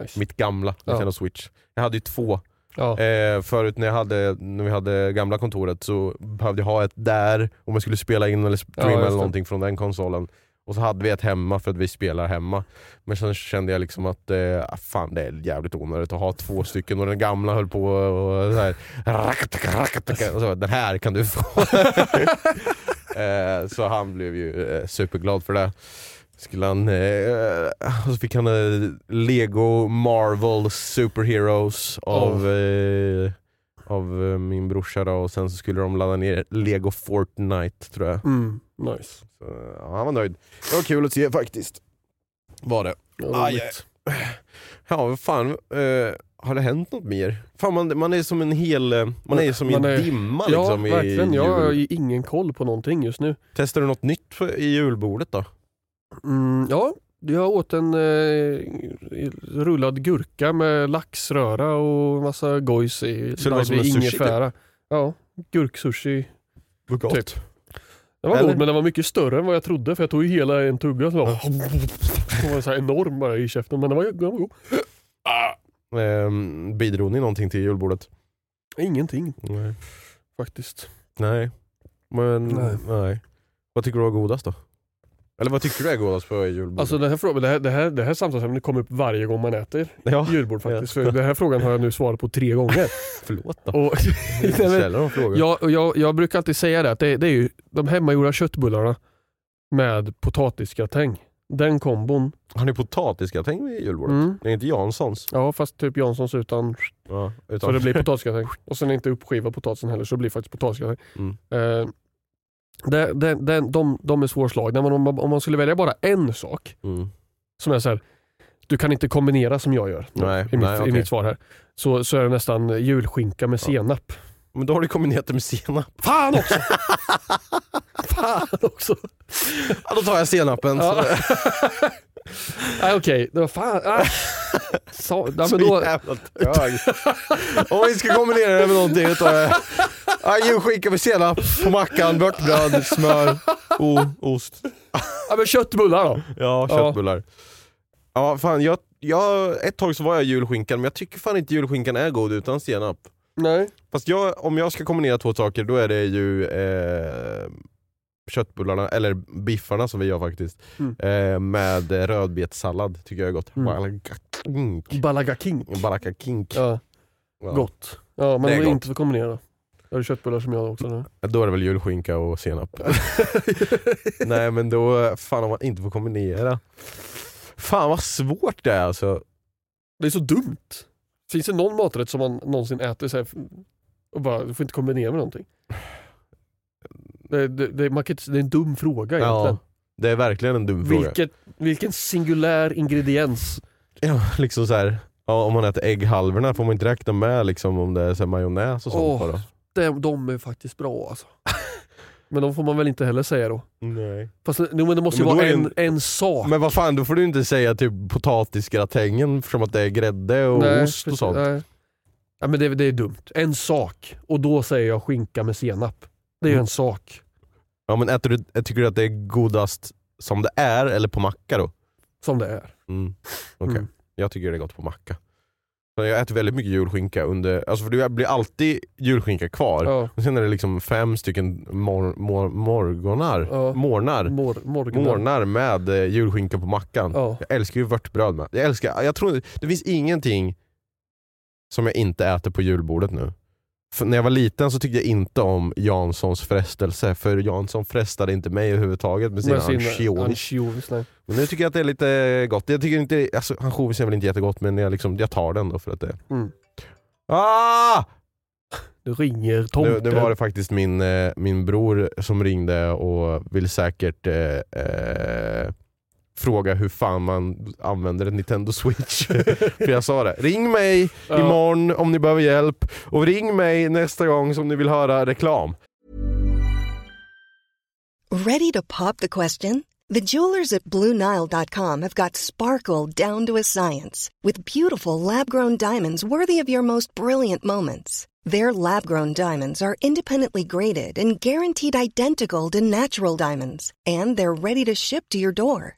Speaker 1: Nice.
Speaker 2: Mitt gamla
Speaker 1: Ja.
Speaker 2: Nintendo Switch. Jag hade ju två.
Speaker 1: Ja.
Speaker 2: Eh, förut när, jag hade, när vi hade gamla kontoret så behövde jag ha ett där om jag skulle spela in eller streama
Speaker 1: just det.
Speaker 2: eller någonting från den konsolen. Och så hade vi ett hemma för att vi spelar hemma. Men sen kände jag liksom att eh, ah, fan det är jävligt onödigt att ha två stycken och den gamla höll på och så här, rakataka, rakataka. och så, Den här kan du få. eh, så han blev ju eh, superglad för det. Skulle han, eh, och så fick han eh, Lego Marvel Superheroes av, eh, av eh, min brorsa då. och sen så skulle de ladda ner Lego Fortnite tror jag.
Speaker 1: Mm. Nice.
Speaker 2: Så, ja, han var nöjd. Det var kul att se faktiskt. Var det.
Speaker 1: Ja,
Speaker 2: Aj,
Speaker 1: roligt.
Speaker 2: Ja, vad fan. eh, har det hänt något mer? Fan, man, man är som en hel... eh, Man är som i en
Speaker 1: Man är-
Speaker 2: dimma
Speaker 1: ja,
Speaker 2: liksom. i
Speaker 1: verkligen. Jag har
Speaker 2: jul.
Speaker 1: ju ingen koll på någonting just nu.
Speaker 2: Testar du något nytt för- i julbordet då?
Speaker 1: Mm, ja, jag åt en eh, rullad gurka med laxröra och massa gojs i.
Speaker 2: Så det var som en
Speaker 1: i
Speaker 2: sushi, typ?
Speaker 1: ingefära. Ja, gurksushi.
Speaker 2: Vad gott.
Speaker 1: Typ. Den var
Speaker 2: Eller?
Speaker 1: god men den var mycket större än vad jag trodde för jag tog ju hela en tugga så bara... Den var så här enorm bara i käften men den var, den var god.
Speaker 2: Ah. Ehm, bidrog ni någonting till julbordet?
Speaker 1: Ingenting
Speaker 2: Nej.
Speaker 1: faktiskt.
Speaker 2: Mm. Nej. Men,
Speaker 1: Nej.
Speaker 2: nej. Vad tycker du var godast då? Eller vad tycker du är godast på julbordet?
Speaker 1: Alltså den här frågan, det här, det här, det här samtalsämnet kommer upp varje gång man äter
Speaker 2: ja,
Speaker 1: julbord faktiskt. För den här frågan har jag nu svarat på tre gånger.
Speaker 2: förlåt då.
Speaker 1: Och, Nej, men-
Speaker 2: Ställer de frågor?
Speaker 1: jag, och jag, jag brukar alltid säga det att det, det är ju de hemmagjorda köttbullarna med potatisgratäng. Den kombon.
Speaker 2: Har ni potatisgratäng i julbordet?
Speaker 1: Mm.
Speaker 2: Det är inte Janssons?
Speaker 1: Ja fast typ Janssons utan
Speaker 2: Ja, utan...
Speaker 1: Så det blir potatisgratäng. Och sen inte uppskivad potatisen heller så det blir faktiskt potatisgratäng.
Speaker 2: Mm.
Speaker 1: Eh, det, det, det, de, de är svårslagna men om man, om man skulle välja bara en sak
Speaker 2: Mm.
Speaker 1: som är så här. Du kan inte kombinera som jag gör
Speaker 2: Nej,
Speaker 1: i, mitt,
Speaker 2: nej,
Speaker 1: i
Speaker 2: okej.
Speaker 1: mitt svar här. Så, så är det nästan julskinka med senap.
Speaker 2: Men då har du kombinerat det med senap.
Speaker 1: Fan också! Fan också!
Speaker 2: Ja, då tar jag senapen.
Speaker 1: Ja.
Speaker 2: Så,
Speaker 1: Nej okej, det var fan... Ah. Så, nej,
Speaker 2: så
Speaker 1: men då,
Speaker 2: jävla trög. Om vi ska kombinera det med någonting då tar jag ja, julskinka med senap på mackan, vörtbröd, smör, o, ost.
Speaker 1: ja, men köttbullar då.
Speaker 2: Ja, köttbullar. Ja, fan jag, jag, ett tag så var jag julskinkan, men jag tycker fan inte julskinkan är god utan senap.
Speaker 1: Nej.
Speaker 2: Fast jag, om jag ska kombinera två saker då är det ju eh, köttbullarna, eller biffarna som vi gör faktiskt,
Speaker 1: Mm.
Speaker 2: eh, med eh, rödbetssallad. Tycker jag är gott.
Speaker 1: Mm.
Speaker 2: Balaka kink.
Speaker 1: Balaga king.
Speaker 2: Balaka kink.
Speaker 1: Ja,
Speaker 2: Ja.
Speaker 1: gott. Ja, men
Speaker 2: Det
Speaker 1: det
Speaker 2: är
Speaker 1: är
Speaker 2: gott.
Speaker 1: inte för kombinera. Då är det köttbullar som jag också. Nu.
Speaker 2: Då är det väl julskinka och senap. Nej men då, fan om man inte får kombinera. Fan vad svårt det är alltså.
Speaker 1: Det är så dumt. Finns det någon maträtt som man någonsin äter så här och bara, du får inte kombinera med någonting? Det, det, det, man kan, inte- det är en dum fråga egentligen.
Speaker 2: Ja, det är verkligen en dum fråga.
Speaker 1: Vilket, vilken singulär ingrediens.
Speaker 2: Ja, liksom så här, ja, om man äter ägghalvorna får man inte räkna med liksom, om det är så här, majonnäs och sånt.
Speaker 1: Åh.
Speaker 2: bara.
Speaker 1: De, de är faktiskt bra alltså. Men de får man väl inte heller säga då?
Speaker 2: Nej.
Speaker 1: Fast nej, men det måste ju
Speaker 2: Men då
Speaker 1: vara
Speaker 2: är det
Speaker 1: en, en... sak.
Speaker 2: Men vad fan, då får du inte säga typ potatisgratängen eftersom att det är grädde och
Speaker 1: Nej,
Speaker 2: ost och
Speaker 1: precis,
Speaker 2: sånt.
Speaker 1: nej. Ja, men det, det är dumt. En sak. Och då säger jag skinka med senap. Det är ju
Speaker 2: Mm.
Speaker 1: en sak.
Speaker 2: Ja, men äter du, eh, tycker du att det är godast som det är eller på macka då?
Speaker 1: Som det är.
Speaker 2: Mm. Okej.
Speaker 1: Mm.
Speaker 2: Jag tycker det är gott på macka. Så Jag äter väldigt mycket julskinka under, alltså för det blir alltid julskinka kvar.
Speaker 1: Ja.
Speaker 2: Och sen är det liksom fem stycken mor, mor, morgonar,
Speaker 1: Ja. Mm.
Speaker 2: mornar,
Speaker 1: Mor- morgon.
Speaker 2: mornar med eh, julskinka på mackan.
Speaker 1: Ja.
Speaker 2: Jag älskar ju vörtbröd med. Jag älskar, jag tror, det finns ingenting som jag inte äter på julbordet nu. För när jag var liten så tyckte jag inte om Janssons frestelse, för Jansson frestade inte mig överhuvudtaget med sina
Speaker 1: Med sin eh,
Speaker 2: ansjovis.
Speaker 1: ansjovis. nej.
Speaker 2: Men nu tycker jag att det är lite gott. Jag tycker inte, alltså ansjovis är väl inte jättegott, men jag, liksom, jag tar den då för att det...
Speaker 1: Mm.
Speaker 2: Ah!
Speaker 1: Det ringer
Speaker 2: Nu,
Speaker 1: tomten.
Speaker 2: nu var det faktiskt min, eh, min bror som ringde och vill säkert eh, eh, fråga hur fan man använder en Nintendo Switch. För jag sa det, ring mig
Speaker 1: Ja.
Speaker 2: imorgon om ni behöver hjälp och ring mig nästa gång som ni vill höra reklam.
Speaker 3: Ready to pop the question? The jewelers at BlueNile.com have got sparkle down to a science with beautiful lab grown diamonds worthy of your most brilliant moments. Their lab grown diamonds are independently graded and guaranteed identical to natural diamonds, and they're ready to ship to your door.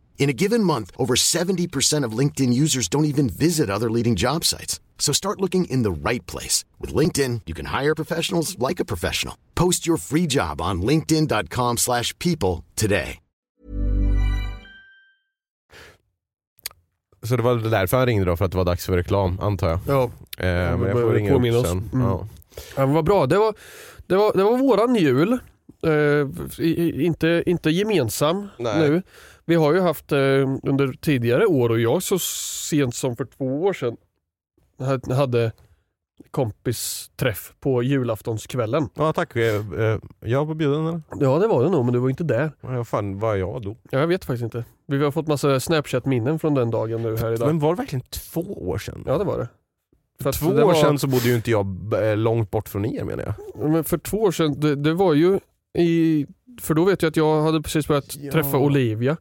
Speaker 4: In a given month, over 70% of LinkedIn users don't even visit other leading job sites. So start looking in the right place. With LinkedIn, you can hire professionals like a professional. Post your free job on linkedin.com/people slash people today.
Speaker 2: Så det var därför han ringde då, för att det var dags för reklam antar jag.
Speaker 1: Ja.
Speaker 2: Eh, men jag får
Speaker 1: behöver
Speaker 2: ringa
Speaker 1: påminna
Speaker 2: upp
Speaker 1: oss.
Speaker 2: sen.
Speaker 1: Mm.
Speaker 2: Ja.
Speaker 1: Ja, men vad bra. Det var, det var, det var våran jul. Eh, i- i- inte, inte gemensam
Speaker 2: Nej.
Speaker 1: nu. Vi har ju haft eh, under tidigare år och jag så sent som för två år sedan ha- hade kompisträff på julaftonskvällen.
Speaker 2: Ja, tack. Eh, eh, Jag var bjuden eller?
Speaker 1: Ja det var det nog men du var ju inte där.
Speaker 2: Ja, Vad fan var jag då?
Speaker 1: Ja, jag vet faktiskt inte. Vi har fått massa Snapchat-minnen från den dagen nu här idag.
Speaker 2: Men var det verkligen två år sedan?
Speaker 1: Ja det var det. För att
Speaker 2: Två
Speaker 1: det
Speaker 2: år
Speaker 1: var-
Speaker 2: sedan så bodde ju inte jag b- eh, långt bort från er menar jag.
Speaker 1: Men för två år sedan, det, det var ju i... För då vet jag att jag hade precis börjat
Speaker 2: Ja.
Speaker 1: träffa Olivia.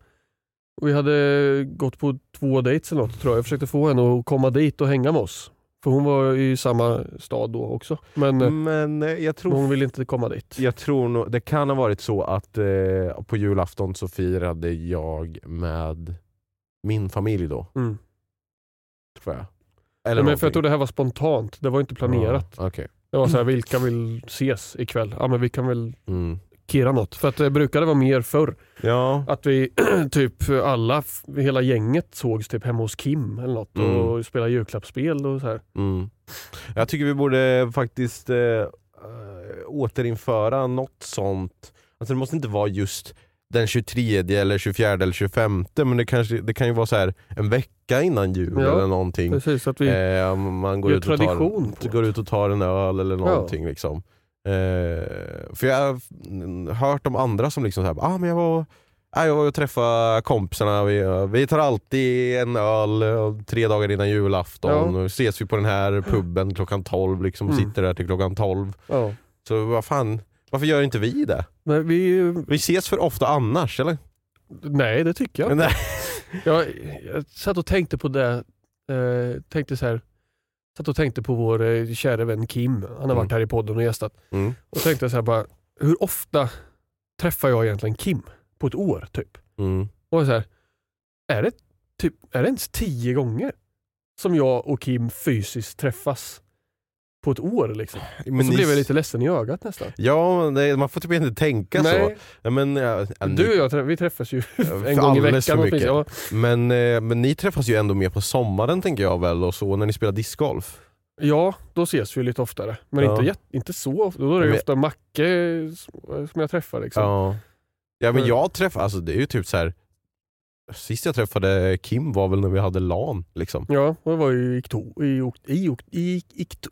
Speaker 1: Och vi hade gått på två dates eller något tror jag. Jag försökte få henne att komma dit och hänga med oss. För hon var i samma stad då också. Men eh,
Speaker 2: Men eh, jag tror,
Speaker 1: hon ville inte komma dit.
Speaker 2: jag tror nog, det kan ha varit så att eh, på julafton så firade jag med min familj då.
Speaker 1: Mm.
Speaker 2: Tror jag.
Speaker 1: Nej,
Speaker 2: Eller
Speaker 1: men för jag
Speaker 2: någonting.
Speaker 1: tror det här var spontant. Det var inte planerat.
Speaker 2: Ja, Okej.
Speaker 1: Det var så här, vilka vill ses ikväll? Ja men vi kan väl
Speaker 2: Mm.
Speaker 1: kira något. För att det brukade vara mer förr.
Speaker 2: Ja.
Speaker 1: Att vi typ alla, f- hela gänget sågs typ hemma hos Kim eller något
Speaker 2: Mm.
Speaker 1: och spelade julklappsspel och så här.
Speaker 2: Mm. Jag tycker vi borde faktiskt eh, eh, återinföra något sånt. Alltså det måste inte vara just den 23 eller 24 eller 25 men det, kanske, det kan ju vara så här en vecka innan jul
Speaker 1: Ja,
Speaker 2: eller någonting.
Speaker 1: Precis, att vi,
Speaker 2: Eh, om man går
Speaker 1: gör
Speaker 2: ut, och tar,
Speaker 1: tradition på
Speaker 2: t- går ut och tar en öl eller
Speaker 1: Ja.
Speaker 2: någonting. Liksom. Eh, för jag har mm, hört om andra som liksom så här, ah, men jag var Nej, jag var och träffade kompisarna, vi, eh, vi tar alltid en öl eh, tre dagar innan julafton.
Speaker 1: Ja.
Speaker 2: Och ses vi på den här puben klockan 12, liksom
Speaker 1: Mm.
Speaker 2: sitter där till klockan 12.
Speaker 1: ja.
Speaker 2: Så vad fan, varför gör inte vi det?
Speaker 1: Men vi,
Speaker 2: Vi ses för ofta annars eller?
Speaker 1: nej det tycker jag.
Speaker 2: Nej.
Speaker 1: jag. Jag satt och tänkte på det, eh, tänkte så här, satt och tänkte på vår eh, kära vän Kim, han har
Speaker 2: Mm.
Speaker 1: varit här i podden och gästat.
Speaker 2: Mm.
Speaker 1: Och tänkte jag så här bara, hur ofta träffar jag egentligen Kim på ett år typ?
Speaker 2: Mm.
Speaker 1: Och så här, är det, typ, är det ens tio gånger som jag och Kim fysiskt träffas på ett år liksom? och så
Speaker 2: ni-
Speaker 1: blev jag lite ledsen i ögat nästan.
Speaker 2: Ja, men det, man får typ inte tänka så.
Speaker 1: Nej,
Speaker 2: Ja, Men, ja, ja, ni-
Speaker 1: du och jag trä- vi träffas ju en
Speaker 2: För
Speaker 1: gång i
Speaker 2: alldeles
Speaker 1: veckan.
Speaker 2: för
Speaker 1: åtminstone.
Speaker 2: mycket.
Speaker 1: Ja,
Speaker 2: Men, eh, men ni träffas ju ändå mer på sommaren tänker jag väl och så när ni spelar discgolf.
Speaker 1: Ja, då ses vi lite oftare. Men
Speaker 2: Ja.
Speaker 1: inte, jätte- inte så ofta. Då är det
Speaker 2: Men-
Speaker 1: ju ofta Macke som som jag träffar. Liksom.
Speaker 2: Ja. ja men
Speaker 1: Mm.
Speaker 2: jag träffar, alltså det är ju typ så här. Sist jag träffade Kim var väl när vi hade LAN liksom.
Speaker 1: Ja, och det var ju i oktober. Ah! I, ok- i, ok- i, i, okto-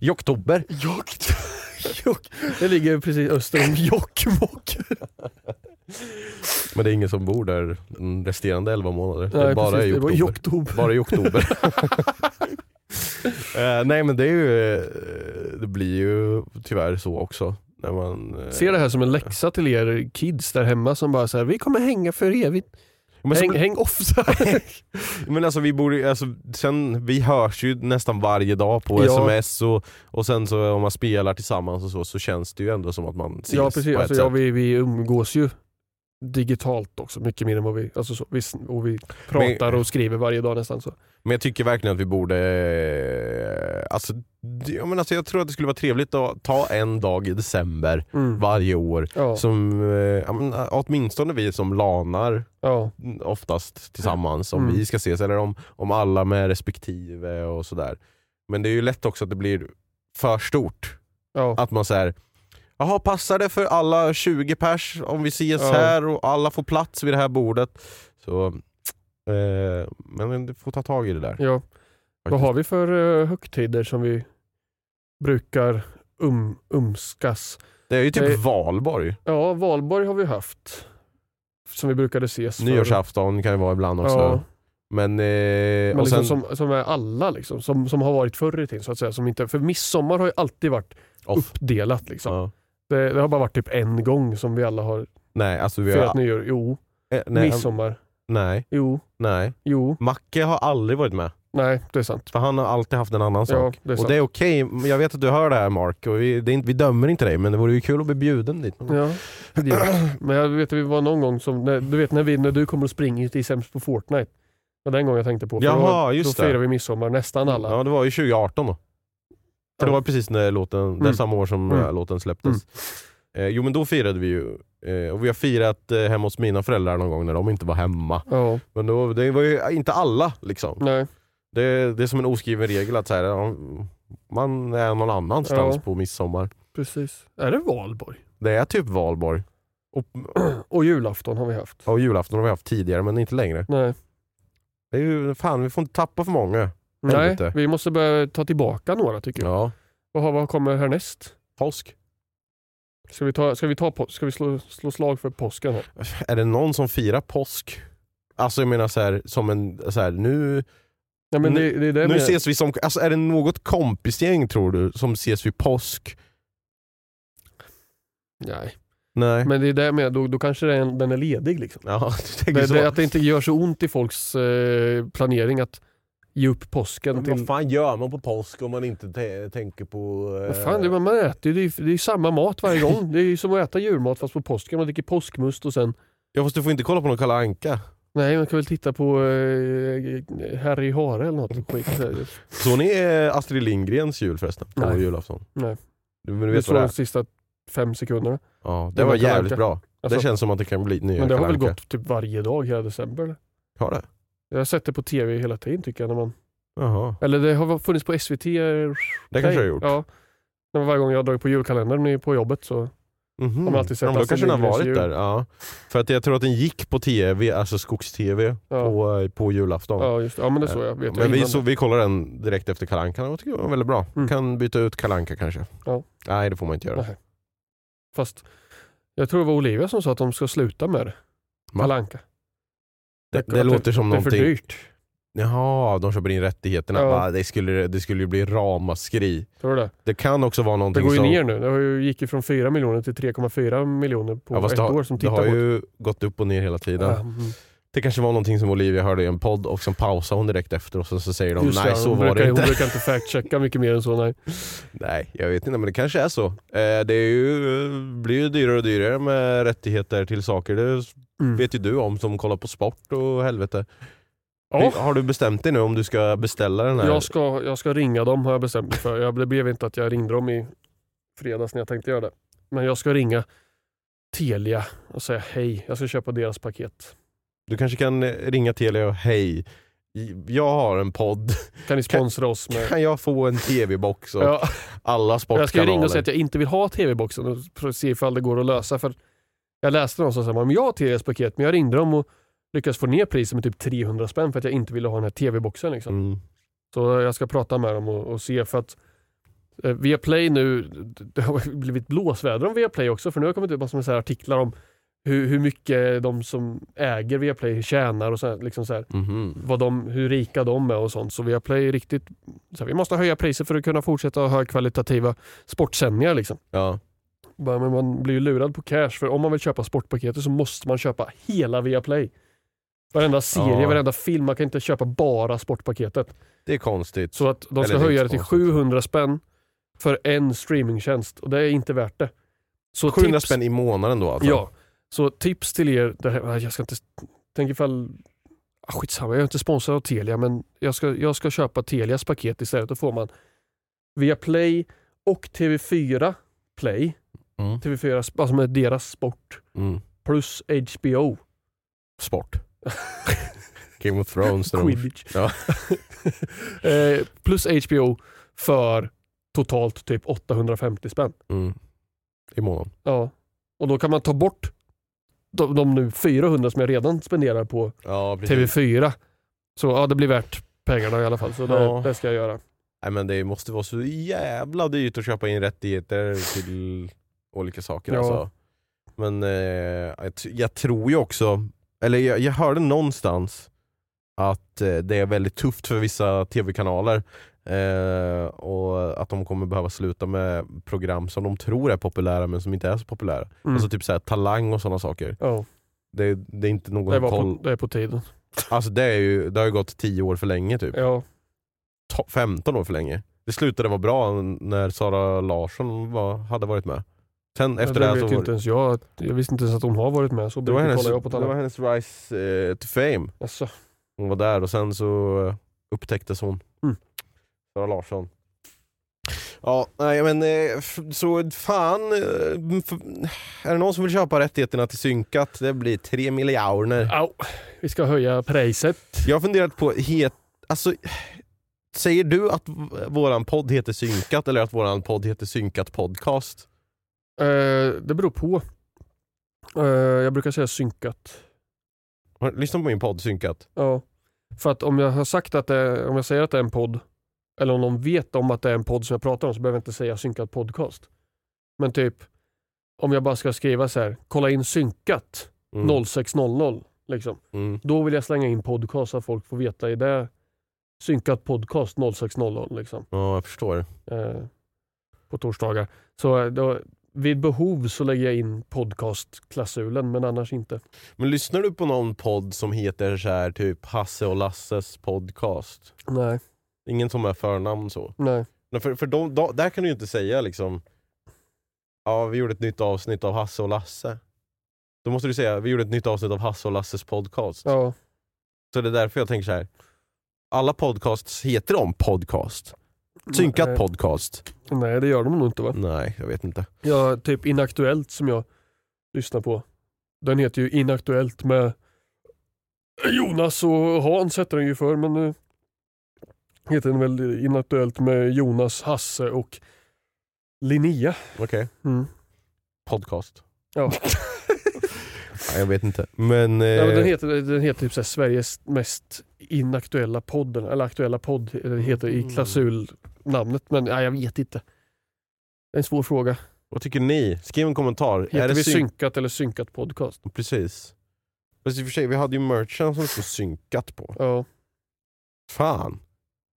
Speaker 2: I oktober.
Speaker 1: i, ok- Jokk. Det ligger precis öster om Jokkmokk.
Speaker 2: Men det är ingen som bor där de resterande 11 månader. det är
Speaker 1: Nej,
Speaker 2: bara
Speaker 1: precis.
Speaker 2: i
Speaker 1: Det var
Speaker 2: oktober.
Speaker 1: i oktober.
Speaker 2: Bara i oktober. Eh, nej men det är ju, eh, det blir ju tyvärr så också. När man, eh,
Speaker 1: Se det här som en läxa till er kids där hemma som bara så här, vi kommer hänga för evigt.
Speaker 2: men så
Speaker 1: häng,
Speaker 2: blir-
Speaker 1: häng offside.
Speaker 2: Men alltså vi borde, ju- alltså, sen, vi hörs ju nästan varje dag på
Speaker 1: Ja.
Speaker 2: sms och, och sen så om man spelar tillsammans och så, så känns det ju ändå som att man ses
Speaker 1: ja precis,
Speaker 2: på ett
Speaker 1: alltså,
Speaker 2: sätt.
Speaker 1: ja, vi, vi umgås ju digitalt också, mycket mer än vad vi, alltså så, vi, s- och vi pratar och skriver varje dag nästan. Så.
Speaker 2: Men jag tycker verkligen att vi borde, eh, alltså, det- ja, men alltså jag tror att det skulle vara trevligt att ta en dag i december
Speaker 1: Mm.
Speaker 2: varje år.
Speaker 1: Ja,
Speaker 2: Som, eh, ja, men, åtminstone vi som lanar
Speaker 1: ja,
Speaker 2: oftast tillsammans om
Speaker 1: Mm.
Speaker 2: vi ska ses eller om, om alla med respektive och sådär. Men det är ju lätt också att det blir för stort.
Speaker 1: ja.
Speaker 2: Att man såhär, jaha passar det för alla 20 pers om vi ses
Speaker 1: Ja.
Speaker 2: här och alla får plats vid det här bordet? Så, eh, men du får ta tag i det där.
Speaker 1: ja. Vad har vi för eh, högtider som vi brukar um, umskas?
Speaker 2: Det är ju typ
Speaker 1: Nej.
Speaker 2: valborg.
Speaker 1: Ja, valborg har vi haft. Som vi brukade ses för.
Speaker 2: Nyårsafton kan det vara ibland också.
Speaker 1: Ja,
Speaker 2: Men, eh,
Speaker 1: men
Speaker 2: och
Speaker 1: liksom
Speaker 2: sen,
Speaker 1: som, som är alla liksom, som, som har varit förr i tiden så att säga. Som inte, för midsommar har ju alltid varit
Speaker 2: off.
Speaker 1: uppdelat liksom.
Speaker 2: Ja.
Speaker 1: Det, det har bara varit typ en gång som vi alla har
Speaker 2: Nej, alltså vi
Speaker 1: firat
Speaker 2: har...
Speaker 1: nyår. Jo,
Speaker 2: eh, nej,
Speaker 1: midsommar.
Speaker 2: nej,
Speaker 1: Jo,
Speaker 2: nej.
Speaker 1: jo,
Speaker 2: Macke har aldrig varit med.
Speaker 1: nej det är sant.
Speaker 2: För han har alltid haft en annan
Speaker 1: Ja,
Speaker 2: sak.
Speaker 1: det är
Speaker 2: och
Speaker 1: sant.
Speaker 2: det är okej, jag vet att du hör det här Mark, och vi, det är inte, vi dömer inte dig men det vore ju kul att bli bjuden dit. någon gång.
Speaker 1: Ja, idiot. Men jag vet att vi var någon gång som, när, du vet när, vi, när du kommer och springer till sämst på Fortnite. Det var den gången jag tänkte på. För
Speaker 2: Jaha,
Speaker 1: då,
Speaker 2: just
Speaker 1: då
Speaker 2: det.
Speaker 1: firar vi midsommar nästan alla.
Speaker 2: Ja, det var ju 2018 då. För det
Speaker 1: Ja.
Speaker 2: var precis när låten, det är
Speaker 1: Mm.
Speaker 2: samma år som
Speaker 1: Mm.
Speaker 2: eh, låten släpptes. Eh, jo men då firade vi ju, eh, och vi har firat eh, hemma hos mina föräldrar någon gång när de inte var hemma.
Speaker 1: Ja,
Speaker 2: Men då, det var ju eh, inte alla liksom.
Speaker 1: nej.
Speaker 2: Det, det är som en oskriven regel att så här, ja, man är någon annanstans
Speaker 1: Ja.
Speaker 2: på midsommar.
Speaker 1: Precis. Är det valborg?
Speaker 2: Det är typ valborg. Och,
Speaker 1: Och julafton har vi haft.
Speaker 2: och julafton har vi haft tidigare men inte längre.
Speaker 1: Nej.
Speaker 2: Det är ju, fan vi får inte tappa för många.
Speaker 1: Nej,
Speaker 2: Helvete.
Speaker 1: vi måste börja ta tillbaka några tycker jag.
Speaker 2: Ja.
Speaker 1: Vad, har- vad kommer härnäst?
Speaker 2: Påsk.
Speaker 1: Ska vi, ta, ska vi, ta, på- ska vi slå, slå slag för påsken? Här?
Speaker 2: Är det någon som firar påsk? Alltså jag menar så här, som en, så här, nu,
Speaker 1: Ja, men
Speaker 2: Nu-
Speaker 1: det, det är det
Speaker 2: nu
Speaker 1: med-
Speaker 2: ses vi som, alltså är det något kompisgäng tror du som ses vid påsk?
Speaker 1: Nej,
Speaker 2: Nej.
Speaker 1: men det är det med, då, då kanske den, den är ledig liksom.
Speaker 2: Ja, du tänker
Speaker 1: Det,
Speaker 2: så.
Speaker 1: det, att det inte gör så ont i folks eh, planering att ge upp påsken till...
Speaker 2: Vad fan gör man på påsk om man inte te- tänker på... eh,
Speaker 1: Vad fan, det, man äter ju, det, är- det är samma mat varje gång. Det är ju som att äta julmat fast på påsken. Man dricker påskmust och sen...
Speaker 2: Ja fast du får inte kolla på någon Kalle Anka.
Speaker 1: Nej, man kan väl titta på eh, Harry Hare eller något skit.
Speaker 2: Så ni är Astrid Lindgrens jul förresten? På
Speaker 1: Nej.
Speaker 2: julafton?
Speaker 1: Nej.
Speaker 2: Du, men du
Speaker 1: Det
Speaker 2: vet vad
Speaker 1: slår
Speaker 2: det
Speaker 1: de
Speaker 2: är?
Speaker 1: sista fem sekunderna.
Speaker 2: Ja, det
Speaker 1: Det
Speaker 2: var
Speaker 1: var Kalle
Speaker 2: jävligt
Speaker 1: Anka.
Speaker 2: bra.
Speaker 1: Alltså,
Speaker 2: det känns som att det kan bli nya
Speaker 1: men det har
Speaker 2: Kalle
Speaker 1: väl
Speaker 2: Anka.
Speaker 1: gått typ varje dag hela december? eller?
Speaker 2: Har det?
Speaker 1: Jag har sett det på tv hela tiden tycker jag. När man,
Speaker 2: Jaha.
Speaker 1: eller det har funnits på SVT. Det
Speaker 2: Det kanske jag har gjort.
Speaker 1: Ja. Men varje gång jag har dragit på julkalendern på jobbet så...
Speaker 2: Mhm.
Speaker 1: Har man alltid
Speaker 2: ja,
Speaker 1: sett
Speaker 2: men då
Speaker 1: Astrid
Speaker 2: kanske den har
Speaker 1: Lindgrens
Speaker 2: varit
Speaker 1: jul.
Speaker 2: där. Ja. För att jag tror att den gick på tv, alltså skogs-tv,
Speaker 1: Ja.
Speaker 2: på, eh, på julafton.
Speaker 1: Ja, just det. Ja, men det är så jag vet.
Speaker 2: Men
Speaker 1: jag
Speaker 2: vi,
Speaker 1: innan.
Speaker 2: så, vi kollar den direkt efter Kalle Anka och tycker den var väldigt bra.
Speaker 1: Mm.
Speaker 2: Kan byta ut Kalle Anka kanske.
Speaker 1: Ja.
Speaker 2: Nej det får man inte göra.
Speaker 1: Nej. Fast jag tror det var Olivia som sa att de ska sluta med det.
Speaker 2: Va?
Speaker 1: Kalle Anka.
Speaker 2: Det,
Speaker 1: Det-
Speaker 2: det
Speaker 1: det-
Speaker 2: låter som
Speaker 1: Det är för
Speaker 2: någonting.
Speaker 1: dyrt.
Speaker 2: Jaha, de köper in rättigheterna.
Speaker 1: Ja.
Speaker 2: Va, det, skulle, det skulle ju bli ramaskri.
Speaker 1: Tror du det?
Speaker 2: Det kan också vara
Speaker 1: Det
Speaker 2: någonting
Speaker 1: går ju
Speaker 2: som...
Speaker 1: ner nu. Det har ju, gick ju från 4 miljoner till 3,4 miljoner på
Speaker 2: Ja, fast
Speaker 1: ett
Speaker 2: det har,
Speaker 1: år som
Speaker 2: det
Speaker 1: tittar
Speaker 2: har
Speaker 1: på det.
Speaker 2: ju gått upp och ner hela tiden.
Speaker 1: Ja, mm.
Speaker 2: Det kanske var någonting som Olivia hörde i en podd och sen pausade hon direkt efter och sen så säger de
Speaker 1: Just
Speaker 2: nej
Speaker 1: det,
Speaker 2: så
Speaker 1: hon
Speaker 2: var
Speaker 1: brukar,
Speaker 2: det inte.
Speaker 1: Hon brukar inte fact-checka mycket mer än så. Nej.
Speaker 2: Nej, jag vet inte men det kanske är så. Eh, det är ju, eh, blir ju dyrare och dyrare med rättigheter till saker. Det
Speaker 1: Mm.
Speaker 2: vet ju du om som kollar på sport och helvete.
Speaker 1: Ja,
Speaker 2: Har du bestämt dig nu om du ska beställa den här?
Speaker 1: jag, ska, jag ska ringa dem har jag bestämt mig för. Jag, det blev inte att jag ringde dem i fredags när jag tänkte göra det. Men jag ska ringa Telia och säga hej. Jag ska köpa deras paket.
Speaker 2: Du kanske kan eh, ringa Telia och hej, jag har en podd.
Speaker 1: Kan ni sponsra oss med...
Speaker 2: Kan jag få en tv-box och
Speaker 1: Ja.
Speaker 2: alla
Speaker 1: Jag ska ju
Speaker 2: sportkanaler?
Speaker 1: ringa och säga att jag inte vill ha TV-boxen och för att se ifall det går att lösa. För jag läste någonstans att jag har Telias paket, men jag ringde dem och lyckades få ner priset med typ 300 spänn för att jag inte ville ha den här TV-boxen. Liksom.
Speaker 2: Mm.
Speaker 1: Så jag ska prata med dem och, och se. för att Eh, Viaplay nu, det har blivit blåsväder om Viaplay också för nu har det kommit ut massor med så här artiklar om hur, hur mycket de som äger Viaplay tjänar och så här, liksom så här,
Speaker 2: Mhm.
Speaker 1: vad de, hur rika de är och sånt. Så Viaplay är riktigt, så här, vi måste höja priset för att kunna fortsätta ha högkvalitativa sportsändningar liksom.
Speaker 2: Ja.
Speaker 1: Bara, Men man blir ju lurad på cash för om man vill köpa sportpaketet så måste man köpa hela Viaplay. Varenda serie,
Speaker 2: Ja.
Speaker 1: varenda film, man kan inte köpa bara sportpaketet.
Speaker 2: Det är konstigt.
Speaker 1: Så att de
Speaker 2: Eller
Speaker 1: ska
Speaker 2: det är
Speaker 1: höja det
Speaker 2: inte
Speaker 1: till
Speaker 2: konstigt.
Speaker 1: 700 spänn för en streamingtjänst och det är inte värt det. Så
Speaker 2: 700
Speaker 1: tips,
Speaker 2: spänn i månaden då alltså?
Speaker 1: Ja. Så tips till er, det här, nej, jag ska inte, tänk ifall, ah, skitsamma jag är inte sponsrad av Telia men jag ska, jag ska köpa Telias paket istället. Då får man via Play och TV4 Play,
Speaker 2: Mm.
Speaker 1: TV4, sp- alltså med deras sport,
Speaker 2: Mm.
Speaker 1: plus HBO.
Speaker 2: Sport. Game of Thrones. när de-
Speaker 1: Quidditch.
Speaker 2: Ja.
Speaker 1: eh, plus HBO för totalt typ 850 spänn.
Speaker 2: Mm. I månaden.
Speaker 1: Ja. Och då kan man ta bort de, de nu 400 som jag redan spenderar på
Speaker 2: Ja, precis.
Speaker 1: TV4. Så ja, det blir värt pengarna i alla fall. Så det,
Speaker 2: Ja.
Speaker 1: det ska jag göra.
Speaker 2: Nej, men det måste vara så jävla dyrt att köpa in rättigheter till olika saker
Speaker 1: Ja.
Speaker 2: alltså. Men eh, jag, t- jag tror ju också, eller jag, jag hörde någonstans att eh, det är väldigt tufft för vissa tv-kanaler eh, och att de kommer behöva sluta med program som de tror är populära men som inte är så populära.
Speaker 1: Mm.
Speaker 2: Alltså typ så här, talang och sådana saker.
Speaker 1: ja,
Speaker 2: Det, det är inte någon
Speaker 1: det, var
Speaker 2: koll.
Speaker 1: på, det är på tiden.
Speaker 2: Alltså det, är ju, det har ju gått 10 år för länge typ.
Speaker 1: Ja.
Speaker 2: to- 15 år för länge. Det slutade vara bra när Sara Larsson var, hade varit med. Sen efter
Speaker 1: det
Speaker 2: det, här så
Speaker 1: vet ju
Speaker 2: var,
Speaker 1: inte ens jag. att- Jag visste inte ens att hon har varit med. Så
Speaker 2: det, var
Speaker 1: brukar
Speaker 2: hennes,
Speaker 1: kolla jag på
Speaker 2: det var
Speaker 1: Talang.
Speaker 2: hennes rise eh, to fame.
Speaker 1: Jaså.
Speaker 2: Hon var där och sen så eh, upptäcktes hon.
Speaker 1: Mm.
Speaker 2: Sara Larsson. Ja, nej men eh, f- så fan. eh, f- Är det någon som vill köpa rättigheterna till synkat? Det blir tre miljarder.
Speaker 1: Au, vi ska höja priset.
Speaker 2: Jag har funderat på, het, alltså, säger du att v- våran podd heter Synkat eller att våran podd heter Synkat Podcast?
Speaker 1: Eh, det beror på. Eh, jag brukar säga synkat.
Speaker 2: Har- Lyssna på min podd Synkat.
Speaker 1: Ja. För att om jag har sagt att det är, om jag säger att det är en podd, eller om någon vet om att det är en podd som jag pratar om så behöver jag inte säga synkad podcast. Men typ, om jag bara ska skriva så här, kolla in synkat
Speaker 2: Mm.
Speaker 1: 0600, liksom.
Speaker 2: Mm.
Speaker 1: då vill jag slänga in podcast så att folk får veta i det synkat podcast 0600. Liksom.
Speaker 2: Ja, jag förstår.
Speaker 1: eh, på torsdagar. Så eh, då, vid behov så lägger jag in podcastklausulen men annars inte.
Speaker 2: Men lyssnar du på någon podd som heter så här typ Hasse och Lasses podcast?
Speaker 1: Nej,
Speaker 2: Ingen som är förnamn så.
Speaker 1: nej.
Speaker 2: Nej, För, för de, de, där kan du ju inte säga liksom, ja vi gjorde ett nytt avsnitt av Hasse och Lasse. Då måste du säga, vi gjorde ett nytt avsnitt av Hasse och Lasses podcast.
Speaker 1: Ja,
Speaker 2: Så det är därför jag tänker så här. Alla podcasts heter de podcast. Synkat
Speaker 1: Eh,
Speaker 2: podcast.
Speaker 1: nej, det gör de nog inte va?
Speaker 2: Nej, jag vet inte.
Speaker 1: Ja, typ Inaktuellt som jag lyssnar på. Den heter ju Inaktuellt med Jonas och Hans hette den ju förr men nu heter den väl Inaktuellt med Jonas, Hasse och Linnea.
Speaker 2: Okej.
Speaker 1: Mm.
Speaker 2: Podcast.
Speaker 1: Ja.
Speaker 2: Nej, jag vet inte. Men... Eh,
Speaker 1: Ja, men den, heter, den heter typ så här Sveriges mest inaktuella podd, eller aktuella podd eh, den heter i
Speaker 2: Mm.
Speaker 1: klausulnamnet. Men nej, jag vet inte. Det är en svår fråga.
Speaker 2: Vad tycker ni? Skriv en kommentar.
Speaker 1: Heter vi
Speaker 2: syn-
Speaker 1: synkat eller synkat podcast?
Speaker 2: Precis. Fast i och för sig, vi hade ju merchen som det stod synkat på.
Speaker 1: Ja,
Speaker 2: Fan.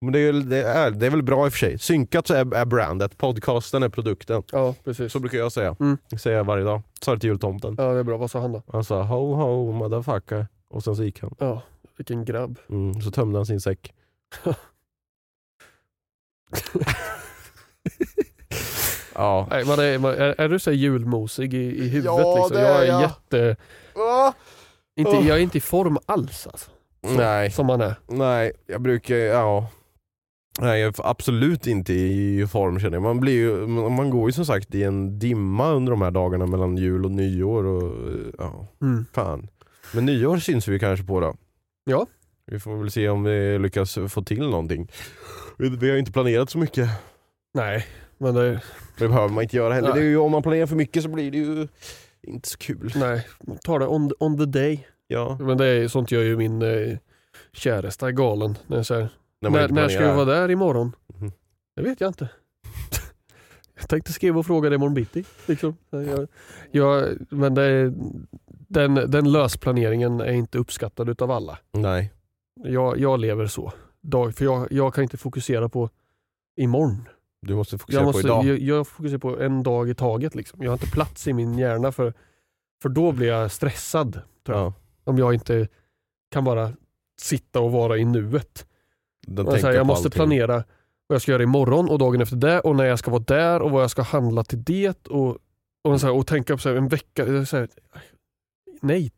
Speaker 2: Men det är, ju- det, är, det är väl bra i och för sig. Synkat så är, är brandet, podcasten är produkten.
Speaker 1: ja precis.
Speaker 2: Så brukar jag säga.
Speaker 1: Mm.
Speaker 2: Det säger jag varje dag. Sa det till jultomten.
Speaker 1: Ja, det är bra. Vad sa han då?
Speaker 2: Han sa ho ho motherfucker. Och sen så gick han.
Speaker 1: Ja, vilken grabb.
Speaker 2: Mm, så tömde han sin säck. ja.
Speaker 1: Nej, men det är, man, är, är du så här julmosig i, i huvudet?
Speaker 2: Ja,
Speaker 1: liksom?
Speaker 2: det
Speaker 1: jag
Speaker 2: är
Speaker 1: är
Speaker 2: jag.
Speaker 1: jätte... Inte,
Speaker 2: Oh.
Speaker 1: Jag är inte i form alls alltså,
Speaker 2: Nej,
Speaker 1: som man är.
Speaker 2: nej, jag brukar, ja. Nej, jag är absolut inte i form känner jag. Man, blir ju, man man går ju som sagt i en dimma under de här dagarna mellan jul och nyår. Och, eh, ja,
Speaker 1: Mm.
Speaker 2: fan. Men nyår syns vi kanske på då.
Speaker 1: Ja.
Speaker 2: Vi får väl se om vi lyckas få till någonting. Vi- Vi har ju inte planerat så mycket.
Speaker 1: Nej, men det är,
Speaker 2: Det behöver man inte göra heller.
Speaker 1: Nej.
Speaker 2: Det är ju, om man planerar för mycket så blir det ju inte så kul.
Speaker 1: nej, Mm. man tar det on, on the day.
Speaker 2: Ja.
Speaker 1: Men det är, sånt gör ju min eh, käresta galen. När, jag säger,
Speaker 2: När, man
Speaker 1: när,
Speaker 2: inte
Speaker 1: när ska vi
Speaker 2: planerar.
Speaker 1: vara där imorgon?
Speaker 2: Mhm.
Speaker 1: Det vet jag inte. Jag tänkte skriva och fråga det imorgon bitti. Liksom. Jag, jag, men det, är- den, den lösplaneringen är inte uppskattad utav alla.
Speaker 2: Nej.
Speaker 1: Jag, jag lever så. Dag, för jag, jag kan inte fokusera på imorgon.
Speaker 2: Du måste fokusera
Speaker 1: Jag, måste,
Speaker 2: på idag.
Speaker 1: jag, jag fokuserar på en dag i taget. Liksom. Jag har inte plats i min hjärna för, för då blir jag stressad. tror jag.
Speaker 2: ja.
Speaker 1: Om jag inte kan bara sitta och vara i nuet.
Speaker 2: Den
Speaker 1: Jag, så här,
Speaker 2: tänker
Speaker 1: jag
Speaker 2: på
Speaker 1: måste
Speaker 2: allting.
Speaker 1: planera vad jag ska göra imorgon och dagen efter det och när jag ska vara där och vad jag ska handla till det och, och, så här, och tänka på så här, en vecka. det är Så här, nej,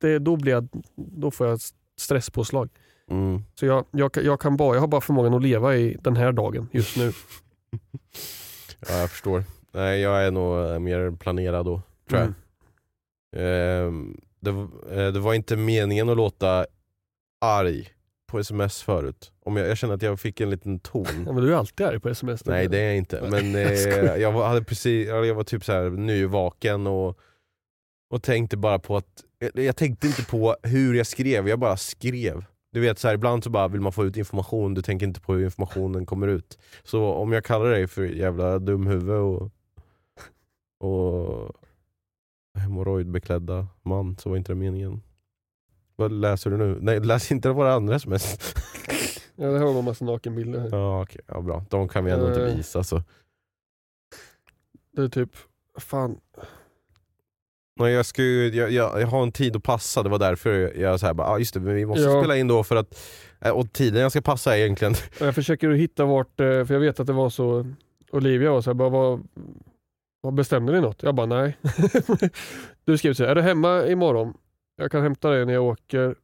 Speaker 1: det, då, blir jag, då får jag stresspåslag.
Speaker 2: Mm.
Speaker 1: Så jag, jag, kan- jag, kan bara, jag har bara förmågan att leva i den här dagen just nu.
Speaker 2: Ja, jag förstår. Nej, jag är nog eh, mer planerad då. Tror jag.
Speaker 1: Mm.
Speaker 2: Ehm, det, v- eh, det var inte meningen att låta arg på sms förut. Om jag, jag kände att jag fick en liten ton.
Speaker 1: Ja, men du är alltid arg på sms.
Speaker 2: Nej det är jag inte. Men eh, Typ. jag, var, hade precis, eller jag var typ så här nyvaken och, och tänkte bara på att, eh, jag, jag tänkte inte på hur jag skrev, jag bara skrev. Du vet så här, ibland så bara vill man få ut information, du tänker inte på hur informationen kommer ut. Så om jag kallar dig för jävla dumhuvud och, och hemorrojdbeklädda man så var inte det meningen. Vad läser du nu? Nej, läs inte våra andra sms.
Speaker 1: Ja, det här var en massa nakenbilder. här.
Speaker 2: Ja, okej. ja, bra. De kan vi ändå inte
Speaker 1: Eh.
Speaker 2: visa så.
Speaker 1: Det är typ, fan.
Speaker 2: Nej, jag, ska ju, jag, jag, jag har en tid att passa, det var därför jag så här, bara, ah, just det, men vi måste
Speaker 1: Ja.
Speaker 2: spela in då för att, eh, och tiden jag ska passa är egentligen,
Speaker 1: Och Jag försöker att hitta vart, eh, för jag vet att det var så, Olivia var så här, bara, vad, vad bestämde ni något? Jag bara nej. du skrev så här, är du hemma imorgon? Jag kan hämta dig när jag åker,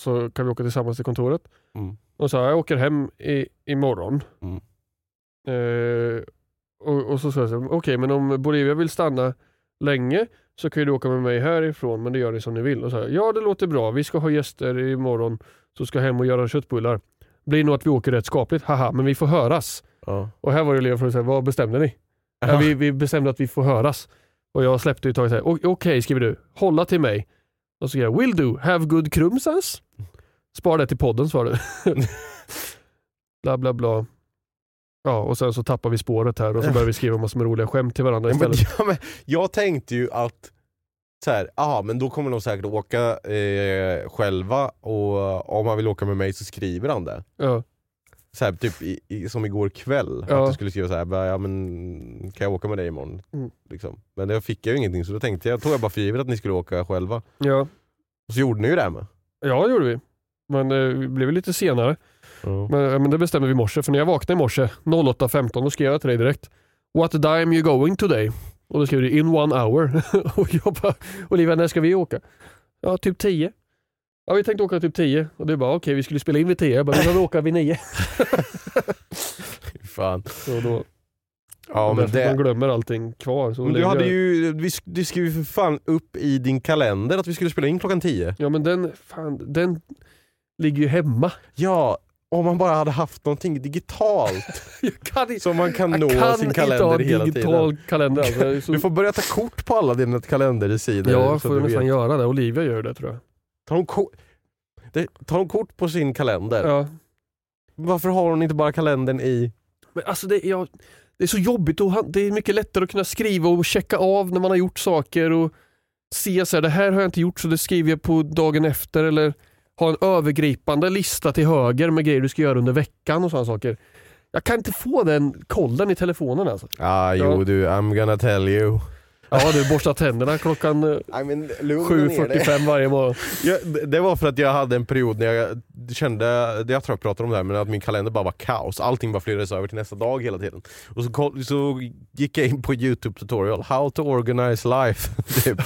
Speaker 1: så kan vi åka tillsammans till kontoret.
Speaker 2: Mm.
Speaker 1: Och så här, jag åker hem i, imorgon.
Speaker 2: Mm.
Speaker 1: Eh, och, och så sa jag så här, okej men om Bolivia vill stanna länge så kan ju du åka med mig härifrån men det gör ni som ni vill. Och så här, ja det låter bra, vi ska ha gäster imorgon så ska jag hem och göra köttbullar. Blir nog att vi åker rätt skapligt, haha men vi får höras.
Speaker 2: ja.
Speaker 1: Och här var det elever som sa, vad bestämde ni? Ja, vi, vi bestämde att vi får höras. Och jag släppte ju taget så här, "O- okej skriver du, hålla till mig. Och så skrev jag, will do, have good krumsas. Spar det till podden svarade du. bla bla bla. Ja, och sen så tappar vi spåret här och så börjar vi skriva massor med roliga skämt till varandra
Speaker 2: Ja, men,
Speaker 1: istället.
Speaker 2: ja, men, jag tänkte ju att, så här, aha, men då kommer de säkert åka eh, själva och eh, om han vill åka med mig så skriver han det.
Speaker 1: Ja,
Speaker 2: Så här, typ i, i, som igår kväll,
Speaker 1: Ja.
Speaker 2: att du skulle skriva så här, bara, ja, men, kan jag åka med dig imorgon?
Speaker 1: Mm.
Speaker 2: Liksom. Men det fick jag ju ingenting så då tänkte jag, tog jag bara för givet att ni skulle åka själva.
Speaker 1: ja.
Speaker 2: Och så gjorde ni ju det här med.
Speaker 1: ja det gjorde vi. Men eh, vi blev ju lite senare. Men, eh, men det bestämde vi i morse, för när jag vaknade i morse 08.15 då skrev jag till dig direkt. What time you going today? Och då skrev du in one hour. och jag bara, Olivia när ska vi åka? Ja, typ 10. Ja, vi tänkte åka typ 10. Och du bara, okej vi skulle spela in vid 10. Jag bara, vi behöver åka vid 9.
Speaker 2: Fy Fan.
Speaker 1: Och då,
Speaker 2: Ja,
Speaker 1: och
Speaker 2: men
Speaker 1: därför
Speaker 2: det...
Speaker 1: Man glömmer allting kvar. Så
Speaker 2: Men du
Speaker 1: Olivia-
Speaker 2: hade ju, vi sk- du skrev ju för fan upp i din kalender att vi skulle spela in klockan 10.
Speaker 1: Ja men den, fan, den ligger ju hemma.
Speaker 2: Ja, om man bara hade haft någonting digitalt
Speaker 1: Jag kan, i-
Speaker 2: som man kan
Speaker 1: jag
Speaker 2: nå
Speaker 1: kan
Speaker 2: sin
Speaker 1: inte ha
Speaker 2: kalender hela
Speaker 1: digital
Speaker 2: tiden.
Speaker 1: kalender. Alltså, jag är så-
Speaker 2: Du får börja ta kort på alla dina kalendersidor.
Speaker 1: Ja, jag
Speaker 2: så
Speaker 1: får
Speaker 2: du
Speaker 1: ju nästan
Speaker 2: vet.
Speaker 1: göra det. Olivia gör det tror jag.
Speaker 2: Tar hon, ko- det, tar hon kort på sin kalender?
Speaker 1: Ja.
Speaker 2: Varför har hon inte bara kalendern i...
Speaker 1: Men alltså det, jag, det är så jobbigt och han, det är mycket lättare att kunna skriva och checka av när man har gjort saker och se så här, det här har jag inte gjort så det skriver jag på dagen efter eller ha en övergripande lista till höger med grejer du ska göra under veckan och sådana saker. Jag kan inte få den kollen i telefonen alltså.
Speaker 2: Ah,
Speaker 1: jo,
Speaker 2: jo du, I'm gonna tell you.
Speaker 1: Ja du, borsta tänderna klockan eh,
Speaker 2: I mean, lugna ner dig.
Speaker 1: 7.45 varje morgon.
Speaker 2: Ja, det- det var för att jag hade en period när jag kände, jag tror jag pratade om det här, men att min kalender bara var kaos. Allting bara flyttades över till nästa dag hela tiden. Och så, koll- så gick jag in på YouTube tutorial, how to organize life. typ.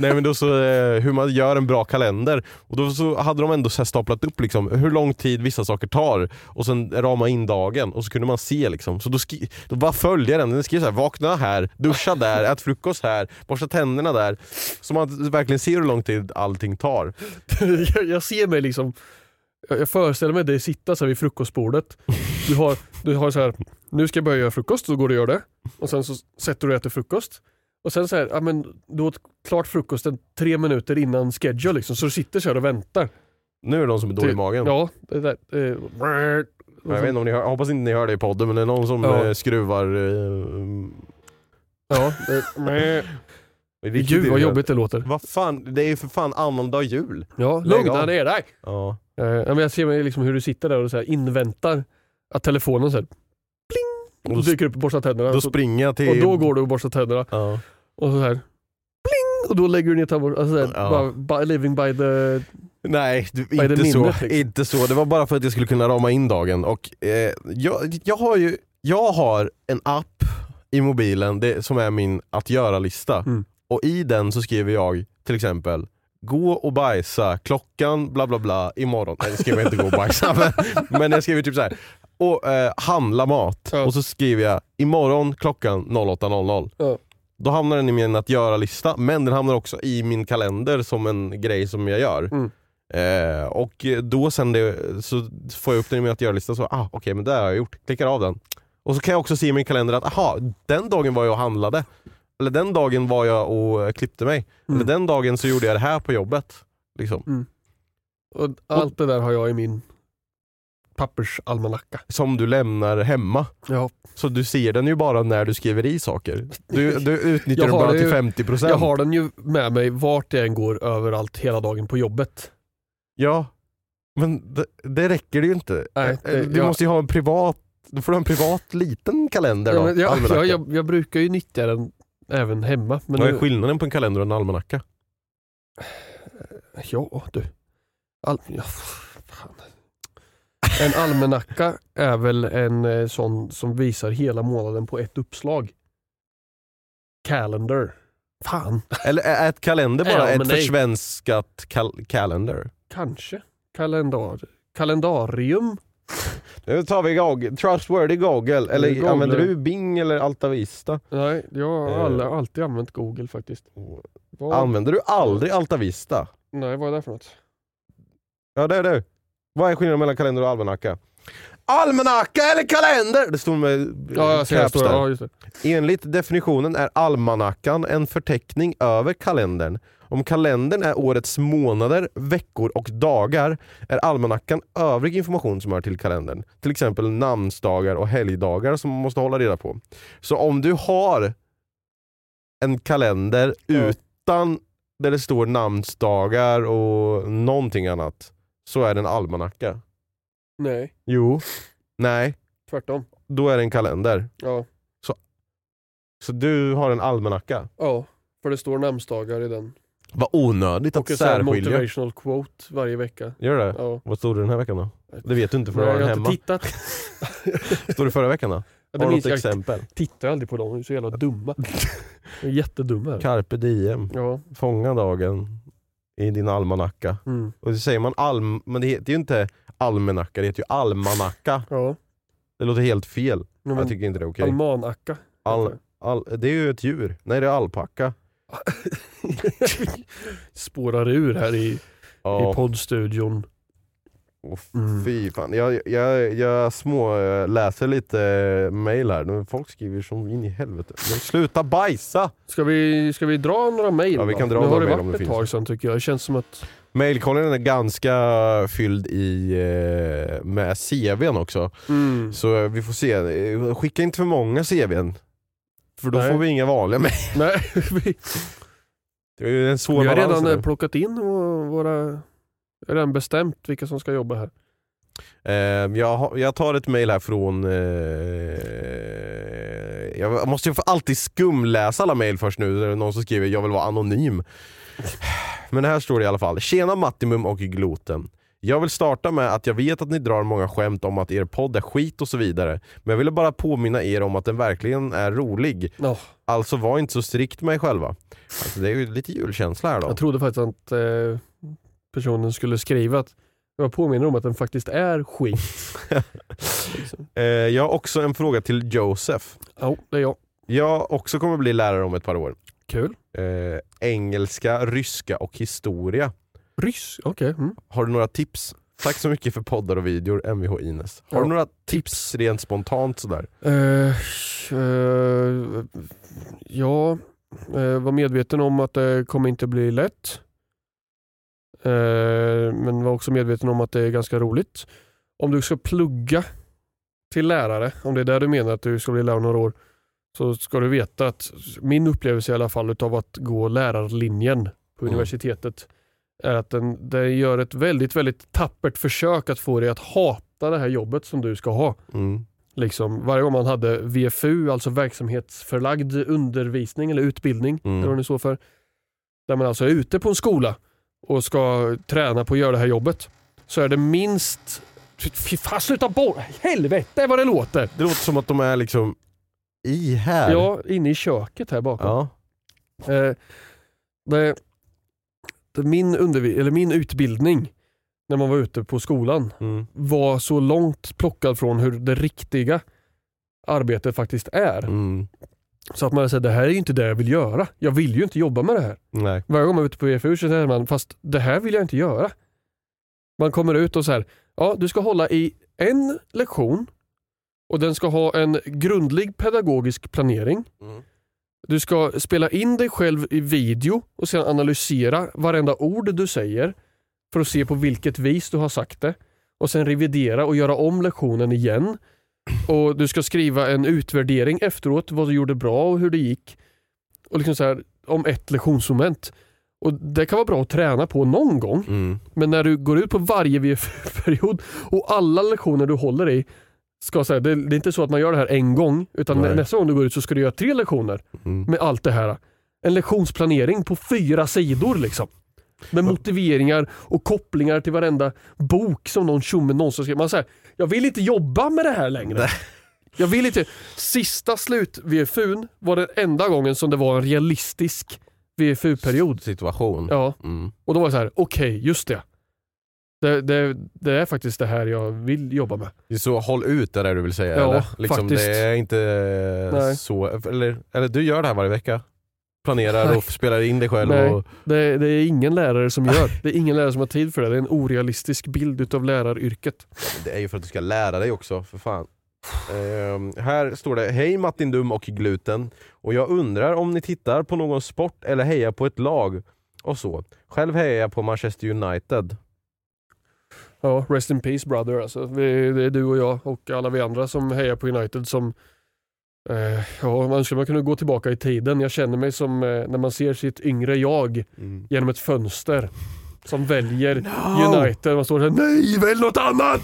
Speaker 2: Nej men då så, eh, hur man gör en bra kalender. Och då så hade de ändå så här staplat upp liksom, hur lång tid vissa saker tar och sen rama in dagen och så kunde man se liksom. Så då, skri- då bara följde jag den. Den skrev så här, vakna här, duscha där, ät frukost här, borsta tänderna där. Så man verkligen ser hur lång tid allting tar.
Speaker 1: jag, jag ser mig liksom, jag, jag föreställer mig dig sitta så här vid frukostbordet. Du har, du har så här, nu ska jag börja göra frukost, så går du och gör det. Och sen så sätter du och äter frukost. Och sen så här, ja, men du åt klart frukosten tre minuter innan schedule liksom, så du sitter så här och väntar.
Speaker 2: Nu är det någon som är dålig i magen.
Speaker 1: Ja, det där. Eh,
Speaker 2: Jag, vet inte om ni hör, jag hoppas inte ni hör det i podden, men det är någon som
Speaker 1: Ja.
Speaker 2: eh, skruvar... Eh,
Speaker 1: Ja, det, nej.
Speaker 2: riktigt
Speaker 1: Gud vad
Speaker 2: irriterande.
Speaker 1: jobbigt det låter.
Speaker 2: Vad fan, det är ju för fan annandag jul.
Speaker 1: Ja,
Speaker 2: Lägg
Speaker 1: lugna
Speaker 2: av.
Speaker 1: ner dig.
Speaker 2: Ja.
Speaker 1: Eh, ja, men jag ser mig liksom hur du sitter där och så här inväntar att telefonen så här,
Speaker 2: Och då, sp-
Speaker 1: dyker upp och borstar tänderna.
Speaker 2: då
Speaker 1: så,
Speaker 2: springer jag till...
Speaker 1: och då går du och borstar tänderna.
Speaker 2: Ja.
Speaker 1: Och så här, pling! Och då lägger du ner tandborsten. Alltså, så här,
Speaker 2: Ja.
Speaker 1: bara, by, living by the...
Speaker 2: Nej, du,
Speaker 1: Vad är det
Speaker 2: inte så.
Speaker 1: minnet, liksom?
Speaker 2: Inte så. Det var bara för att jag skulle kunna rama in dagen. Och, eh, jag, jag, har ju, jag har en app i mobilen det, som är min att göra-lista.
Speaker 1: Mm.
Speaker 2: Och i den så skriver jag till exempel Gå och bajsa klockan bla bla bla imorgon. Nej, jag skriver inte gå och bajsa. men, men jag skriver typ så här. Och, eh, handla mat.
Speaker 1: Ja.
Speaker 2: Och så skriver jag imorgon klockan 08.00.
Speaker 1: Ja.
Speaker 2: Då hamnar den i min att göra-lista, men den hamnar också i min kalender som en grej som jag gör.
Speaker 1: Mm.
Speaker 2: Eh, och då sen det, så får jag upp den i min att göra-lista, så ah, okej men det har jag gjort. Klickar av den. Och så kan jag också se i min kalender att aha, den dagen var jag och handlade. Eller den dagen var jag och klippte mig.
Speaker 1: Mm.
Speaker 2: Eller den dagen så gjorde jag det här på jobbet. Liksom.
Speaker 1: Och allt det där har jag i min pappersalmanacka.
Speaker 2: Som du lämnar hemma.
Speaker 1: Ja,
Speaker 2: Så du ser den ju bara när du skriver i saker. Du, du utnyttjar
Speaker 1: Jag
Speaker 2: den
Speaker 1: har
Speaker 2: bara
Speaker 1: det
Speaker 2: till
Speaker 1: ju-
Speaker 2: 50%.
Speaker 1: jag har den ju med mig vart jag än går överallt hela dagen på jobbet.
Speaker 2: Ja, men det, det räcker det ju inte.
Speaker 1: Nej, det-
Speaker 2: du
Speaker 1: jag-
Speaker 2: måste ju ha en privat, då får du ha en privat liten kalender
Speaker 1: Ja,
Speaker 2: då.
Speaker 1: men jag,
Speaker 2: almanacka.
Speaker 1: jag, jag, jag brukar ju nyttja den även hemma. Men
Speaker 2: Vad är
Speaker 1: nu-
Speaker 2: skillnaden på en kalender och en almanacka?
Speaker 1: Ja du. Al ja, fan. En almanacka är väl en eh, sån som visar hela månaden på ett uppslag. Calendar. Fan.
Speaker 2: Eller är är ett kalender bara
Speaker 1: Ja, men
Speaker 2: ett
Speaker 1: det är-
Speaker 2: försvenskat kal- kalender?
Speaker 1: Kanske. Kalendar. Kalendarium.
Speaker 2: Nu tar vi Google. Trustworthy Google. Eller
Speaker 1: Google.
Speaker 2: använder du Bing eller Altavista?
Speaker 1: Nej, jag har
Speaker 2: Eh.
Speaker 1: alla, alltid använt Google faktiskt. Vad,
Speaker 2: Använder du aldrig Altavista?
Speaker 1: nej, vad är det för något?
Speaker 2: Ja det är du. Vad är skillnaden mellan kalender och almanacka? Almanacka eller kalender? Det stod med eh,
Speaker 1: Ja, jag ser det.
Speaker 2: caps
Speaker 1: står-
Speaker 2: där.
Speaker 1: Ja, just det.
Speaker 2: Enligt definitionen är almanackan en förteckning över kalendern. Om kalendern är årets månader, veckor och dagar är almanackan övrig information som hör till kalendern. Till exempel namnsdagar och helgdagar som man måste hålla reda på. Så om du har en kalender utan där det står namnsdagar och någonting annat så är det en almanacka.
Speaker 1: Nej,
Speaker 2: Jo. Nej,
Speaker 1: tvärtom.
Speaker 2: då är det en kalender.
Speaker 1: Ja.
Speaker 2: Så du har en almanacka.
Speaker 1: ja, för det står namnsdagar i den.
Speaker 2: Vad onödigt
Speaker 1: Och
Speaker 2: att
Speaker 1: en sån här
Speaker 2: särskilja.
Speaker 1: motivational quote varje vecka.
Speaker 2: Gör det?
Speaker 1: Ja.
Speaker 2: Vad stod det den här veckan då? Det vet du inte för du
Speaker 1: Nej,
Speaker 2: har
Speaker 1: jag
Speaker 2: den
Speaker 1: har inte
Speaker 2: hemma.
Speaker 1: tittat.
Speaker 2: Stod det förra veckan då?
Speaker 1: Ja, det
Speaker 2: Har du
Speaker 1: minns
Speaker 2: något
Speaker 1: jag
Speaker 2: exempel?
Speaker 1: tittar aldrig på dem, de är så jävla dumma. De är jättedumma.
Speaker 2: Carpe diem.
Speaker 1: Ja.
Speaker 2: Fånga dagen i din almanacka.
Speaker 1: Mm.
Speaker 2: Och så säger man alm... Men det heter ju inte almanacka, det heter ju almanacka.
Speaker 1: ja.
Speaker 2: Det låter helt fel.
Speaker 1: Men,
Speaker 2: Jag tycker inte det är okej.
Speaker 1: almanacka.
Speaker 2: Al, al, det är ju ett djur. Nej, det är alpacka.
Speaker 1: Spårar ur här i, i
Speaker 2: Ja.
Speaker 1: poddstudion.
Speaker 2: Oh,
Speaker 1: Mm.
Speaker 2: fy fan. Jag, jag, jag små eh, läser lite eh, mail här. Men Folk skriver som in i helvete. Men sluta bajsa!
Speaker 1: Ska vi, ska vi dra några mejl?
Speaker 2: Ja, vi
Speaker 1: då?
Speaker 2: kan dra
Speaker 1: nu
Speaker 2: några
Speaker 1: har det
Speaker 2: mejl om
Speaker 1: varit
Speaker 2: det
Speaker 1: ett
Speaker 2: finns.
Speaker 1: tag sedan tycker jag. Det känns som att...
Speaker 2: Mailkollen är ganska fylld i eh, med CVn också.
Speaker 1: Mm.
Speaker 2: Så eh, vi får se. Eh, Skicka inte för många CVn. För då
Speaker 1: Nej.
Speaker 2: får vi inga vanliga mejl.
Speaker 1: Nej, vi,
Speaker 2: Det är ju en svår
Speaker 1: vi har
Speaker 2: balans
Speaker 1: redan
Speaker 2: nu.
Speaker 1: eh, plockat in vå- våra... Redan bestämt vilka som ska jobba här.
Speaker 2: Eh, jag, har- jag tar ett mejl här från... Eh, jag måste ju för alltid skumläsa alla mejl först nu. Det är någon som skriver jag vill vara anonym. Men här står det i alla fall. Tjena Mattimum och Gloten. Jag vill starta med att jag vet att ni drar många skämt om att er podd är skit och så vidare. Men jag ville bara påminna er om att den verkligen är rolig.
Speaker 1: Ja,
Speaker 2: Alltså var inte så strikt med er själva. Alltså, det är ju lite julkänsla här då.
Speaker 1: Jag trodde faktiskt att eh, personen skulle skriva att jag påminner om att den faktiskt är skit. liksom.
Speaker 2: Eh, jag har också en fråga till Josef.
Speaker 1: Ja, det är jag.
Speaker 2: Jag också kommer bli lärare om ett par år.
Speaker 1: Kul.
Speaker 2: eh, engelska, ryska och historia.
Speaker 1: Ryss, okej. Mm.
Speaker 2: Har du några tips? Tack så mycket för poddar och videor, Mvh Ines. Har
Speaker 1: Ja.
Speaker 2: du några tips rent spontant sådär?
Speaker 1: Eh, eh, ja, eh, var medveten om att det kommer inte bli lätt. Eh, men var också medveten om att det är ganska roligt. Om du ska plugga till lärare, om det är där du menar att du ska bli lärare om några år, så ska du veta att min upplevelse i alla fall utav att gå lärarlinjen på
Speaker 2: Mm.
Speaker 1: universitetet är att den, den gör ett väldigt, väldigt tappert försök att få dig att hata det här jobbet som du ska ha.
Speaker 2: Mm.
Speaker 1: Liksom, varje gång man hade VFU, alltså verksamhetsförlagd undervisning eller utbildning,
Speaker 2: Mm.
Speaker 1: eller vad det står för, där man alltså är ute på en skola och ska träna på att göra det här jobbet, så är det minst... Fy fan, sluta bort! Helvete vad det låter!
Speaker 2: Det låter som att de är liksom i här.
Speaker 1: Ja, inne i köket här bakom.
Speaker 2: Ja.
Speaker 1: Eh, det, det, min, undervi- eller min utbildning när man var ute på skolan
Speaker 2: Mm.
Speaker 1: var så långt plockad från hur det riktiga arbetet faktiskt är.
Speaker 2: Mm.
Speaker 1: Så att man säger det här är ju inte det jag vill göra. Jag vill ju inte jobba med det här.
Speaker 2: Nej.
Speaker 1: Varje gång man är ute på VFU så säger man fast det här vill jag inte göra. Man kommer ut och så här, ja du ska hålla i en lektion och den ska ha en grundlig pedagogisk planering.
Speaker 2: Mm.
Speaker 1: Du ska spela in dig själv i video och sedan analysera varenda ord du säger för att se på vilket vis du har sagt det. Och sen revidera och göra om lektionen igen. Och du ska skriva en utvärdering efteråt, vad du gjorde bra och hur det gick. Och liksom så här, om ett lektionsmoment. Och det kan vara bra att träna på någon gång.
Speaker 2: Mm.
Speaker 1: Men när du går ut på varje VFU-period och alla lektioner du håller i ska säga, det, det är inte så att man gör det här en gång utan
Speaker 2: Nej.
Speaker 1: nästa gång du går ut så ska du göra tre lektioner
Speaker 2: Mm.
Speaker 1: med allt det här. En lektionsplanering på fyra sidor liksom. Med motiveringar och kopplingar till varenda bok som någon tjomme någonsin skrev. Man säger, jag vill inte jobba med det här längre. Jag vill inte. Sista slut VFUn var den enda gången som det var en realistisk VFU-period.
Speaker 2: Situation.
Speaker 1: Ja,
Speaker 2: Mm.
Speaker 1: och då var det så här, okej, just det. Det, det. det är faktiskt det här jag vill jobba med.
Speaker 2: Det är Så håll ut är det du vill säga
Speaker 1: Ja,
Speaker 2: eller? Liksom,
Speaker 1: faktiskt.
Speaker 2: det är inte eh,
Speaker 1: Nej.
Speaker 2: så, eller, eller du gör det här varje vecka? Planerar
Speaker 1: Nej.
Speaker 2: och spelar in dig själv?
Speaker 1: Nej.
Speaker 2: Och,
Speaker 1: Det, det är ingen lärare som gör. Det är ingen lärare som har tid för det. Det är en orealistisk bild av läraryrket.
Speaker 2: det är ju för att du ska lära dig också, för fan. Ehm, här står det, hej Martin Dum och Gluten. Och jag undrar om ni tittar på någon sport eller hejar på ett lag och så. Själv hejar jag på Manchester United.
Speaker 1: Ja, rest in peace brother alltså. Vi, det är du och jag och alla vi andra som hejar på United som... Eh, ja, man önskar man kunde gå tillbaka i tiden. Jag känner mig som eh, när man ser sitt yngre jag genom ett fönster. Som väljer United. Man står såhär “Nej, välj något annat!”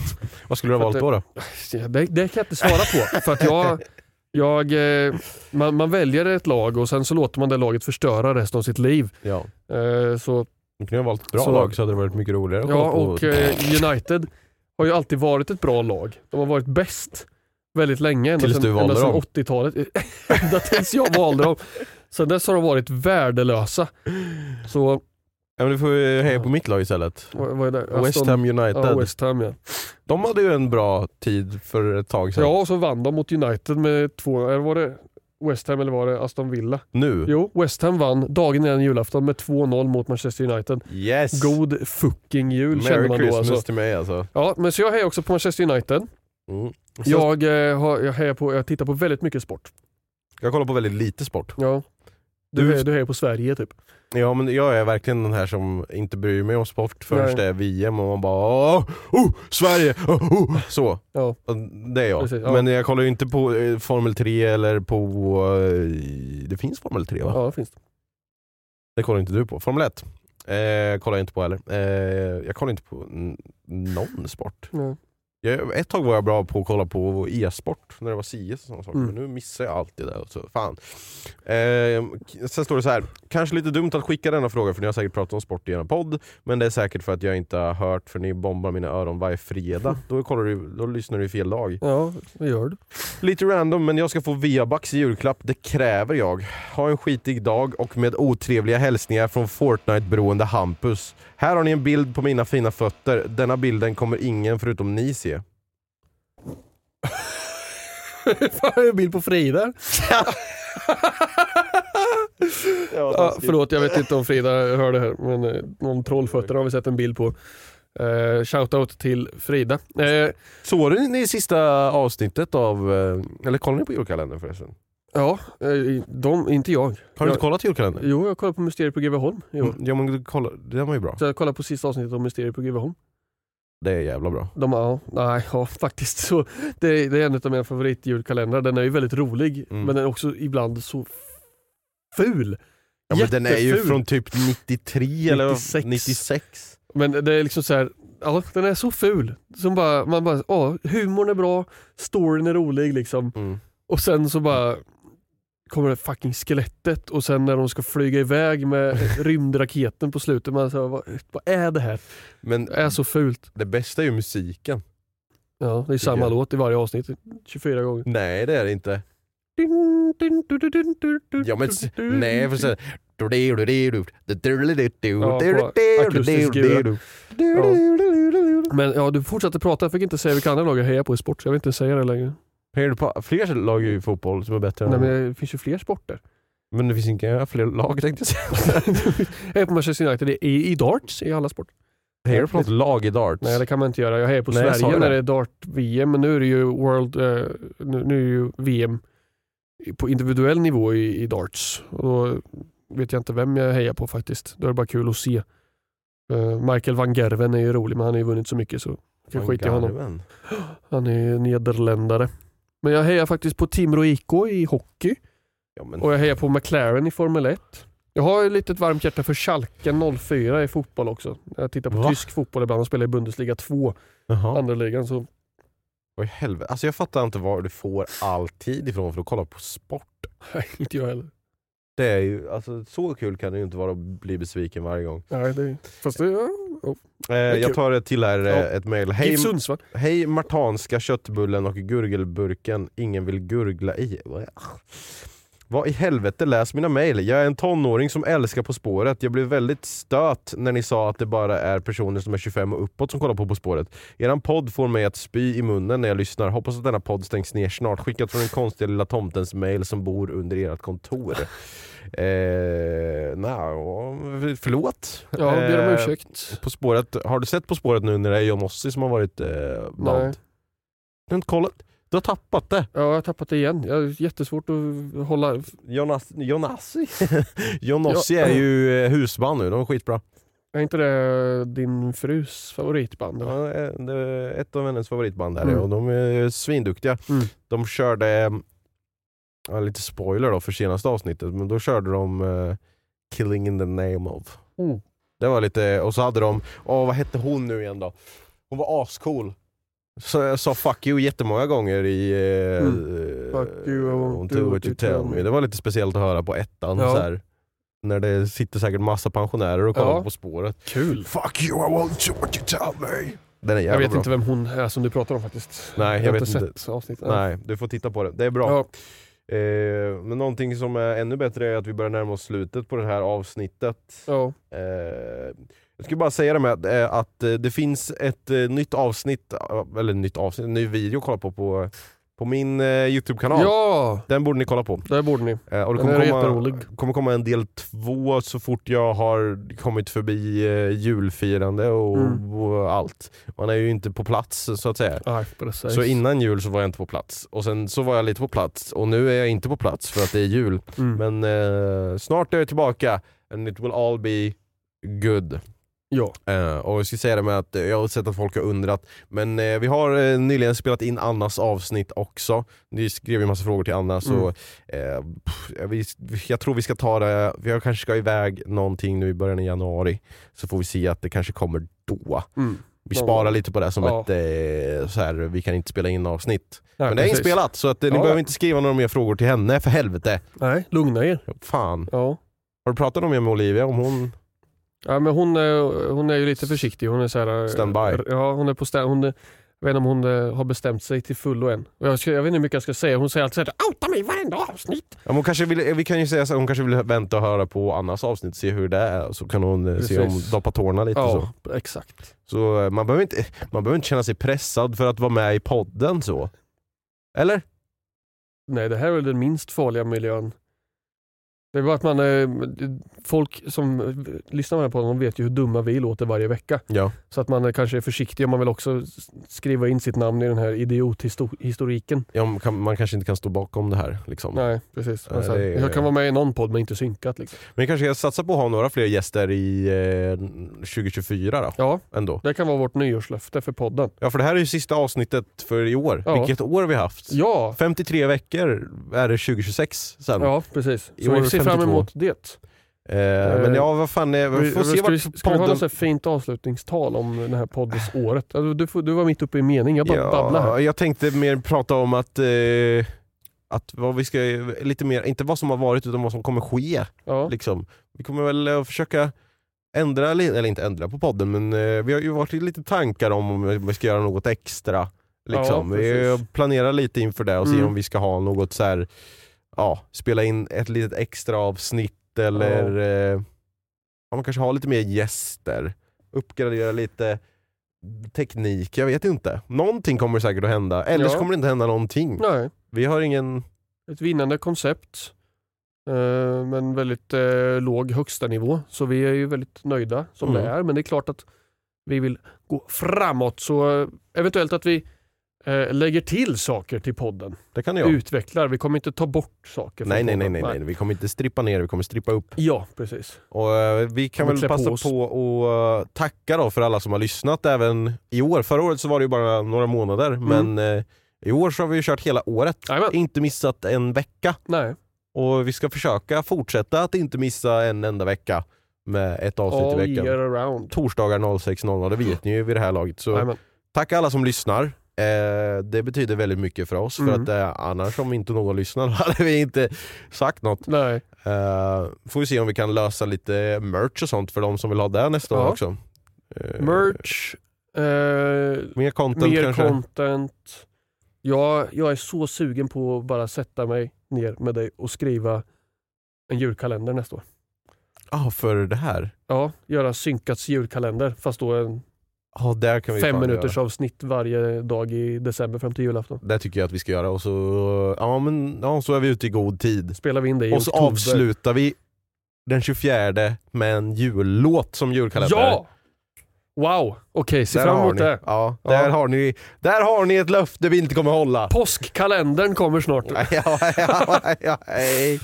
Speaker 2: Vad skulle du ha
Speaker 1: För
Speaker 2: valt
Speaker 1: att
Speaker 2: då? då?
Speaker 1: Ja, Det, det kan jag inte svara på. För att jag, jag, eh, man, man väljer ett lag och sen så låter man det laget förstöra resten av sitt liv.
Speaker 2: Ja.
Speaker 1: Eh, så,
Speaker 2: Du kunde ha valt ett bra
Speaker 1: Så-
Speaker 2: lag så hade det varit mycket roligare. att
Speaker 1: ja,
Speaker 2: kolla på.
Speaker 1: och eh, United har ju alltid varit ett bra lag. De har varit bäst väldigt länge. Ända
Speaker 2: Tills
Speaker 1: sedan-
Speaker 2: du valde
Speaker 1: ända sedan
Speaker 2: dem.
Speaker 1: 80-talet. ända tills jag valde dem. Sen dess har de varit värdelösa. Så,
Speaker 2: ja, men du får ju heja på mitt lag istället.
Speaker 1: vad, vad är det?
Speaker 2: West
Speaker 1: Aston-
Speaker 2: Ham United.
Speaker 1: Ja, West Ham ja.
Speaker 2: De hade ju en bra tid för ett tag sedan.
Speaker 1: Ja, och så vann de mot United med två, eller var det West Ham eller var det Aston Villa?
Speaker 2: Nu.
Speaker 1: Jo, West Ham vann dagen innan julafton med 2-0 mot Manchester United.
Speaker 2: Yes!
Speaker 1: God fucking jul känner
Speaker 2: Merry
Speaker 1: man då
Speaker 2: Christmas
Speaker 1: alltså.
Speaker 2: till mig alltså.
Speaker 1: Ja, men så jag hejar också på Manchester United.
Speaker 2: Mm. Så jag...
Speaker 1: Jag, eh, har, jag, hejar på, jag tittar på väldigt mycket sport.
Speaker 2: jag kollar på väldigt lite sport.
Speaker 1: Ja. Du,
Speaker 2: Du-
Speaker 1: hejar- du hejar på Sverige typ.
Speaker 2: Ja men jag är verkligen den här som inte bryr mig om sport
Speaker 1: Nej.
Speaker 2: förrän det är VM och man bara "Åh, oh, Sverige! Oh, oh. Så.
Speaker 1: Ja.
Speaker 2: Och Det är jag.
Speaker 1: Precis, ja.
Speaker 2: Men jag kollar ju inte på eh, Formel 3 eller på... eh, Det finns Formel 3 va?
Speaker 1: Ja, det finns det.
Speaker 2: Det kollar inte du på. Formel 1 eh, kollar jag inte på heller. Eh, jag kollar inte på n- någon sport.
Speaker 1: Ja.
Speaker 2: Jag, ett tag var jag bra på att kolla på e-sport när det var CS och sådana saker.
Speaker 1: Mm.
Speaker 2: Men nu missar jag alltid det. och Så, fan. Eh, k- sen står det så här. kanske lite dumt att skicka denna fråga för ni har säkert pratat om sport i er podd. Men det är säkert för att jag inte har hört för ni bombar mina öron varje fredag. Då, kollar du, då lyssnar du i fel dag.
Speaker 1: Ja, det gör du.
Speaker 2: Lite random, men jag ska få Viabucks i julklapp. Det kräver jag. Ha en skitig dag och med otrevliga hälsningar från Fortnite-beroende Hampus. Här har ni en bild på mina fina fötter. Denna bilden kommer ingen förutom ni se.
Speaker 1: Fan, jag har en bild på Frida. Ja, ah, förlåt, jag vet inte om Frida hör det här, men eh, någon trollfötter har vi sett en bild på. Eh, shoutout till Frida. Eh,
Speaker 2: Såg ni det sista avsnittet av... eh, Eller kollar ni på julkalendern förresten?
Speaker 1: ja, eh, de, inte jag.
Speaker 2: Har ni
Speaker 1: Jag-
Speaker 2: inte kollat julkalendern?
Speaker 1: Jo, jag kollar
Speaker 2: Mm.
Speaker 1: på Mysteriet på Greveholm. Jo.
Speaker 2: Ja men kolla, den var ju bra.
Speaker 1: Så jag kollade på sista avsnittet om Mysteriet på Greveholm.
Speaker 2: Det är jävla bra.
Speaker 1: De, ja, nej, ja, faktiskt. Så, det, det är en av mina favoritjulkalendrar. Den är ju väldigt rolig,
Speaker 2: Mm.
Speaker 1: men den är också ibland så ful.
Speaker 2: Ja, men den är ju
Speaker 1: Jätteful.
Speaker 2: från typ 93 eller
Speaker 1: 96.
Speaker 2: 96.
Speaker 1: Men det är liksom så här, ja, den är så ful. Som bara, man bara, ja, humorn är bra, storyn är rolig liksom.
Speaker 2: Mm.
Speaker 1: Och sen så bara kommer det fucking skelettet och sen när de ska flyga iväg med rymdraketen på slutet. Man så här, vad, vad är det här?
Speaker 2: Men
Speaker 1: Det är så fult.
Speaker 2: det bästa är ju musiken.
Speaker 1: Ja, det är samma
Speaker 2: jag.
Speaker 1: låt i varje avsnitt. 24 gånger.
Speaker 2: Nej det är det inte.
Speaker 1: Dun, dun, dun, dun, dun, dun, dun,
Speaker 2: Ja, men, s-
Speaker 1: dun,
Speaker 2: nej för
Speaker 1: dun.
Speaker 2: sen...
Speaker 1: Ja, på akustisk gura. Men ja, du fortsatte prata. Jag fick inte säga vilka andra lag jag hejar på i sport, så jag vill inte säga det längre.
Speaker 2: Hejar du på fler lag i fotboll som är bättre
Speaker 1: Nej,
Speaker 2: än
Speaker 1: men det finns ju fler sporter.
Speaker 2: men det finns inga fler lag tänkte jag säga.
Speaker 1: jag hejar på Manchester United i, i darts, i alla sporter.
Speaker 2: Hejar du på något lag i darts?
Speaker 1: Nej, det kan man inte göra. Jag hejar på
Speaker 2: Nej, jag sa
Speaker 1: Sverige
Speaker 2: ju
Speaker 1: när
Speaker 2: det.
Speaker 1: det är dart-VM, men nu är det ju World... Eh, nu, nu är det ju VM på individuell nivå i, i darts. Och då vet jag inte vem jag hejar på faktiskt. Då är det bara kul att se. Eh, Michael van Gerven är ju rolig, men han har ju vunnit så mycket så jag kan
Speaker 2: Van
Speaker 1: skita i honom.
Speaker 2: Garven.
Speaker 1: Han är ju nederländare. Men jag hejar faktiskt på Timrå IK i hockey
Speaker 2: Ja, men,
Speaker 1: och jag hejar på McLaren i Formel 1. Jag har ju lite ett varmt hjärta för Schalke 04 i fotboll också. Jag tittar på
Speaker 2: Va?
Speaker 1: tysk fotboll ibland och spelar i Bundesliga 2,
Speaker 2: Jaha.
Speaker 1: andra ligan. Så
Speaker 2: Vad i helvete. Alltså jag fattar inte var du får all tid ifrån för att kolla på sport.
Speaker 1: nej, inte jag heller.
Speaker 2: Det är ju, alltså, så kul kan det ju inte vara att bli besviken varje gång.
Speaker 1: Nej, det, fast det ja.
Speaker 2: Eh,
Speaker 1: är
Speaker 2: jag
Speaker 1: kul.
Speaker 2: tar ett till här, eh,
Speaker 1: Ja.
Speaker 2: ett mejl.
Speaker 1: GIF
Speaker 2: Hej,
Speaker 1: Sundsvall.
Speaker 2: hej martanska köttbullen och gurgelburken ingen vill gurgla i. Vad- Vad i helvete, läs mina mejl. Jag är en tonåring som älskar På spåret. Jag blev väldigt stöt när ni sa att det bara är personer som är 25 och uppåt som kollar på På spåret. Eran podd får mig att spy i munnen när jag lyssnar. Hoppas att denna podd stängs ner snart. Skickat från den konstiga lilla tomtens mejl som bor under ert kontor. Eh, nah, förlåt.
Speaker 1: Ja, ber om
Speaker 2: Eh,
Speaker 1: ursäkt.
Speaker 2: på spåret, har du sett På spåret nu när det är John Ossie som har varit eh, band?
Speaker 1: Nej.
Speaker 2: Du har inte kollat? Du har tappat det.
Speaker 1: Ja, jag har tappat det igen. Jag har jättesvårt att hålla...
Speaker 2: John Ass- John Ossie John Ossie är ju eh, husband nu, de är skitbra.
Speaker 1: Är inte det din frus favoritband? eller?
Speaker 2: Ja, eh, det är ett av hennes favoritband där
Speaker 1: Mm.
Speaker 2: och de är svinduktiga.
Speaker 1: Mm.
Speaker 2: De körde, eh, ja, lite spoiler då för senaste avsnittet, men då körde de eh, Killing in the name of.
Speaker 1: Mm.
Speaker 2: Det var lite, och så hade de, åh vad hette hon nu igen då? Hon var ascool. Så jag sa fuck you jättemånga gånger i... Eh,
Speaker 1: Mm. Fuck you, I won't
Speaker 2: do what you tell me. Det var lite speciellt att höra på ettan.
Speaker 1: Ja.
Speaker 2: Så här, när det sitter säkert massa pensionärer och kollar
Speaker 1: Ja.
Speaker 2: På spåret.
Speaker 1: Kul.
Speaker 2: Fuck you, I won't do what you tell me. Den är jävla
Speaker 1: Jag vet
Speaker 2: bra.
Speaker 1: inte vem hon är som du pratar om faktiskt.
Speaker 2: Nej, jag
Speaker 1: har
Speaker 2: vet
Speaker 1: inte
Speaker 2: inte.
Speaker 1: sett avsnittet.
Speaker 2: Nej, du får titta på det. Det är bra.
Speaker 1: Ja.
Speaker 2: Eh, men någonting som är ännu bättre är att vi börjar närma oss slutet på det här avsnittet.
Speaker 1: Ja.
Speaker 2: Eh, jag skulle bara säga det med eh, att eh, det finns ett eh, nytt avsnitt, eh, eller nytt avsnitt, en ny video att kolla på på, på min eh, YouTube-kanal.
Speaker 1: ja,
Speaker 2: Den borde ni kolla på.
Speaker 1: där borde ni.
Speaker 2: Eh, och det
Speaker 1: Den
Speaker 2: kommer
Speaker 1: är
Speaker 2: komma,
Speaker 1: jätterolig.
Speaker 2: kommer komma en del två så fort jag har kommit förbi eh, julfirande och,
Speaker 1: Mm.
Speaker 2: och allt. Man är ju inte på plats så att säga.
Speaker 1: Nej, precis.
Speaker 2: Så innan jul så var jag inte på plats och sen så var jag lite på plats och nu är jag inte på plats för att det är jul.
Speaker 1: Mm.
Speaker 2: Men eh, snart är jag tillbaka and it will all be good.
Speaker 1: ja.
Speaker 2: Eh, och jag ska säga det med att eh, jag har sett att folk har undrat, men eh, vi har eh, nyligen spelat in Annas avsnitt också. Ni skrev ju massa frågor till Anna, så
Speaker 1: Mm.
Speaker 2: eh, pff, jag, vi, jag tror vi ska ta det, jag kanske ska iväg någonting nu i början av januari, så får vi se att det kanske kommer då.
Speaker 1: Mm.
Speaker 2: Vi
Speaker 1: Ja.
Speaker 2: sparar lite på det som
Speaker 1: Ja.
Speaker 2: ett, eh, så här, vi kan inte spela in avsnitt.
Speaker 1: Nej,
Speaker 2: men det är
Speaker 1: precis.
Speaker 2: inspelat, så att, eh, ni
Speaker 1: Ja,
Speaker 2: behöver
Speaker 1: ja.
Speaker 2: inte skriva några mer frågor till henne, för helvete.
Speaker 1: Nej, lugna er.
Speaker 2: Fan.
Speaker 1: Ja.
Speaker 2: Har du pratat om det med Olivia? Om hon...
Speaker 1: Ja, men hon, är, hon är ju lite försiktig. Hon är så här, eh,
Speaker 2: Standby.
Speaker 1: Ja, hon är på stand, hon, är- jag vet inte om hon eh, har bestämt sig till fullo än. Och Jag, ska, jag vet inte hur mycket jag ska säga. Hon säger alltid såhär “outa mig i varenda avsnitt”.
Speaker 2: Ja, men hon kanske vill, eh, vi kan ju säga så här, hon kanske vill vänta och höra på Annas avsnitt, se hur det är, så kan hon eh, se om
Speaker 1: Precis.
Speaker 2: doppa tårna lite så.
Speaker 1: Ja, exakt.
Speaker 2: så eh, man, behöver inte, man behöver inte känna sig pressad för att vara med i podden så. Eller?
Speaker 1: Nej, det här är väl den minst farliga miljön. Det är bara att man, eh, folk som eh, lyssnar på den här podden, de vet ju hur dumma vi låter varje vecka.
Speaker 2: Ja.
Speaker 1: Så att man eh, kanske är försiktig och man vill också s- skriva in sitt namn i den här idiothistoriken.
Speaker 2: Ja, man, kan, man kanske inte kan stå bakom det här. Liksom.
Speaker 1: Nej, precis. Men
Speaker 2: Nej,
Speaker 1: så här,
Speaker 2: det är-
Speaker 1: Jag kan vara med i någon podd men inte synkat. Liksom.
Speaker 2: Men vi kanske kan satsa på att ha några fler gäster i eh, 2024 då,
Speaker 1: Ja,
Speaker 2: ändå.
Speaker 1: det kan vara vårt nyårslöfte för podden.
Speaker 2: Ja, för det här är ju sista avsnittet för i år.
Speaker 1: Ja.
Speaker 2: Vilket år vi har haft.
Speaker 1: Ja,
Speaker 2: 53 veckor är det 2026 sen.
Speaker 1: ja precis.
Speaker 2: I
Speaker 1: Så
Speaker 2: år
Speaker 1: vi ser fram
Speaker 2: 52.
Speaker 1: emot det.
Speaker 2: Eh, men ja, vad fan är... Vi
Speaker 1: Vi,
Speaker 2: får se
Speaker 1: ska vi,
Speaker 2: vart
Speaker 1: ska vi ha
Speaker 2: podden...
Speaker 1: något så här fint avslutningstal om det här poddesåret? Alltså, Du, får- du var mitt uppe i mening, jag bara babblar här.
Speaker 2: Ja, jag tänkte mer prata om att, eh, att vad vi ska, lite mer, inte vad som har varit utan vad som kommer ske.
Speaker 1: Ja.
Speaker 2: Liksom. Vi kommer väl att försöka ändra, li- eller inte ändra på podden, men eh, vi har ju varit i lite tankar om om vi ska göra något extra. Liksom.
Speaker 1: Ja,
Speaker 2: vi
Speaker 1: precis.
Speaker 2: planerar lite inför det och ser
Speaker 1: Mm.
Speaker 2: om vi ska ha något så här, ja, spela in ett litet extra avsnitt eller eh, ja, man kanske har lite mer gäster, uppgradera lite teknik, jag vet inte. Någonting kommer säkert att hända, eller så
Speaker 1: Ja.
Speaker 2: kommer det inte hända någonting.
Speaker 1: Nej,
Speaker 2: Vi har ingen,
Speaker 1: ett vinnande koncept. eh, Men väldigt eh, låg högsta nivå. Så vi är ju väldigt nöjda som
Speaker 2: Mm.
Speaker 1: det är. Men det är klart att vi vill gå framåt. Så eh, eventuellt att vi eh, lägger till saker till podden.
Speaker 2: det kan jag.
Speaker 1: Utvecklar. Vi kommer inte ta bort saker. från
Speaker 2: Nej, nej, nej,
Speaker 1: podden.
Speaker 2: nej, nej, vi kommer inte strippa ner, vi kommer strippa upp.
Speaker 1: Ja, precis.
Speaker 2: Och, eh, vi kan
Speaker 1: Kommer
Speaker 2: väl
Speaker 1: klä på
Speaker 2: passa
Speaker 1: oss.
Speaker 2: på att eh, tacka då för alla som har lyssnat även i år. Förra året så var det ju bara några månader,
Speaker 1: Mm.
Speaker 2: men eh, i år så har vi ju kört hela året.
Speaker 1: Jajamän.
Speaker 2: Inte missat en vecka.
Speaker 1: Nej.
Speaker 2: Och vi ska försöka fortsätta att inte missa en enda vecka med ett avsnitt
Speaker 1: All
Speaker 2: i veckan.
Speaker 1: year around.
Speaker 2: Torsdagar 06.00, det vet ni ju vid det här laget. Så
Speaker 1: Jajamän.
Speaker 2: tack alla som lyssnar. Eh, det betyder väldigt mycket för oss, för
Speaker 1: Mm.
Speaker 2: att eh, annars om inte någon lyssnar hade vi inte sagt något.
Speaker 1: Nej.
Speaker 2: Eh, får vi se om vi kan lösa lite merch och sånt för de som vill ha det nästa
Speaker 1: Ja.
Speaker 2: år också. Eh,
Speaker 1: Merch. Eh,
Speaker 2: Mer content
Speaker 1: mer
Speaker 2: kanske.
Speaker 1: content. Jag, jag är så sugen på att bara sätta mig ner med dig och skriva en julkalender nästa år.
Speaker 2: Ja, för det här.
Speaker 1: Ja, göra synkats julkalender fast då en
Speaker 2: Ja, där kan vi
Speaker 1: fem
Speaker 2: fan
Speaker 1: minuters
Speaker 2: göra.
Speaker 1: avsnitt varje dag i december fram till julafton.
Speaker 2: Det tycker jag att vi ska göra och så, ja, men, ja, så är vi ute i god tid.
Speaker 1: Spelar vi in det i
Speaker 2: Och så
Speaker 1: oktober.
Speaker 2: avslutar vi den 24 med en jullåt som julkalender.
Speaker 1: Ja! Wow! Okej, se
Speaker 2: Där
Speaker 1: fram
Speaker 2: har
Speaker 1: emot
Speaker 2: ni-
Speaker 1: det.
Speaker 2: Ja, där,
Speaker 1: Ja.
Speaker 2: Har ni, där har ni ett löfte vi inte kommer hålla.
Speaker 1: Påskkalendern kommer snart.
Speaker 2: Ja, ja, ja, ja, hej.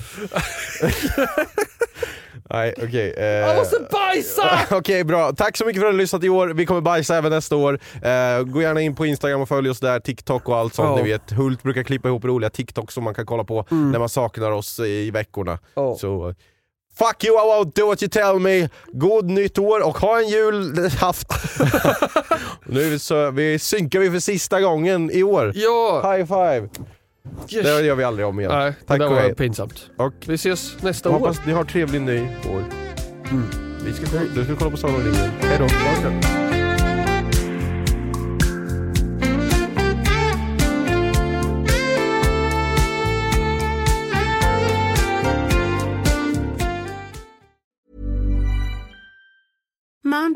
Speaker 2: Nej, okej. eh.
Speaker 1: Jag måste bajsa!
Speaker 2: Okej, bra. Tack så mycket för att ni har lyssnat i år. Vi kommer bajsa även nästa år. Eh, gå gärna in på Instagram och följ oss där, TikTok och allt sånt
Speaker 1: Ja. Mm.
Speaker 2: ni vet. Hult brukar klippa ihop roliga TikToks som man kan kolla på när man saknar oss i veckorna.
Speaker 1: Ja.
Speaker 2: Så, eh, fuck you, I won't do what you tell me. God nytt år och ha en jul haft. nu så, vi synkar vi för sista gången i år.
Speaker 1: Ja!
Speaker 2: High five!
Speaker 1: Yes.
Speaker 2: Det gör vi aldrig om igen.
Speaker 1: Nej, det
Speaker 2: Tack
Speaker 1: där
Speaker 2: och
Speaker 1: var
Speaker 2: hej.
Speaker 1: pinsamt.
Speaker 2: Och
Speaker 1: Vi ses nästa
Speaker 2: jag
Speaker 1: år. Mm.
Speaker 2: hoppas ni har trevlig ny år. Vi ska, kolla- du ska kolla på Sagan om ringen. Hej då.
Speaker 5: Mom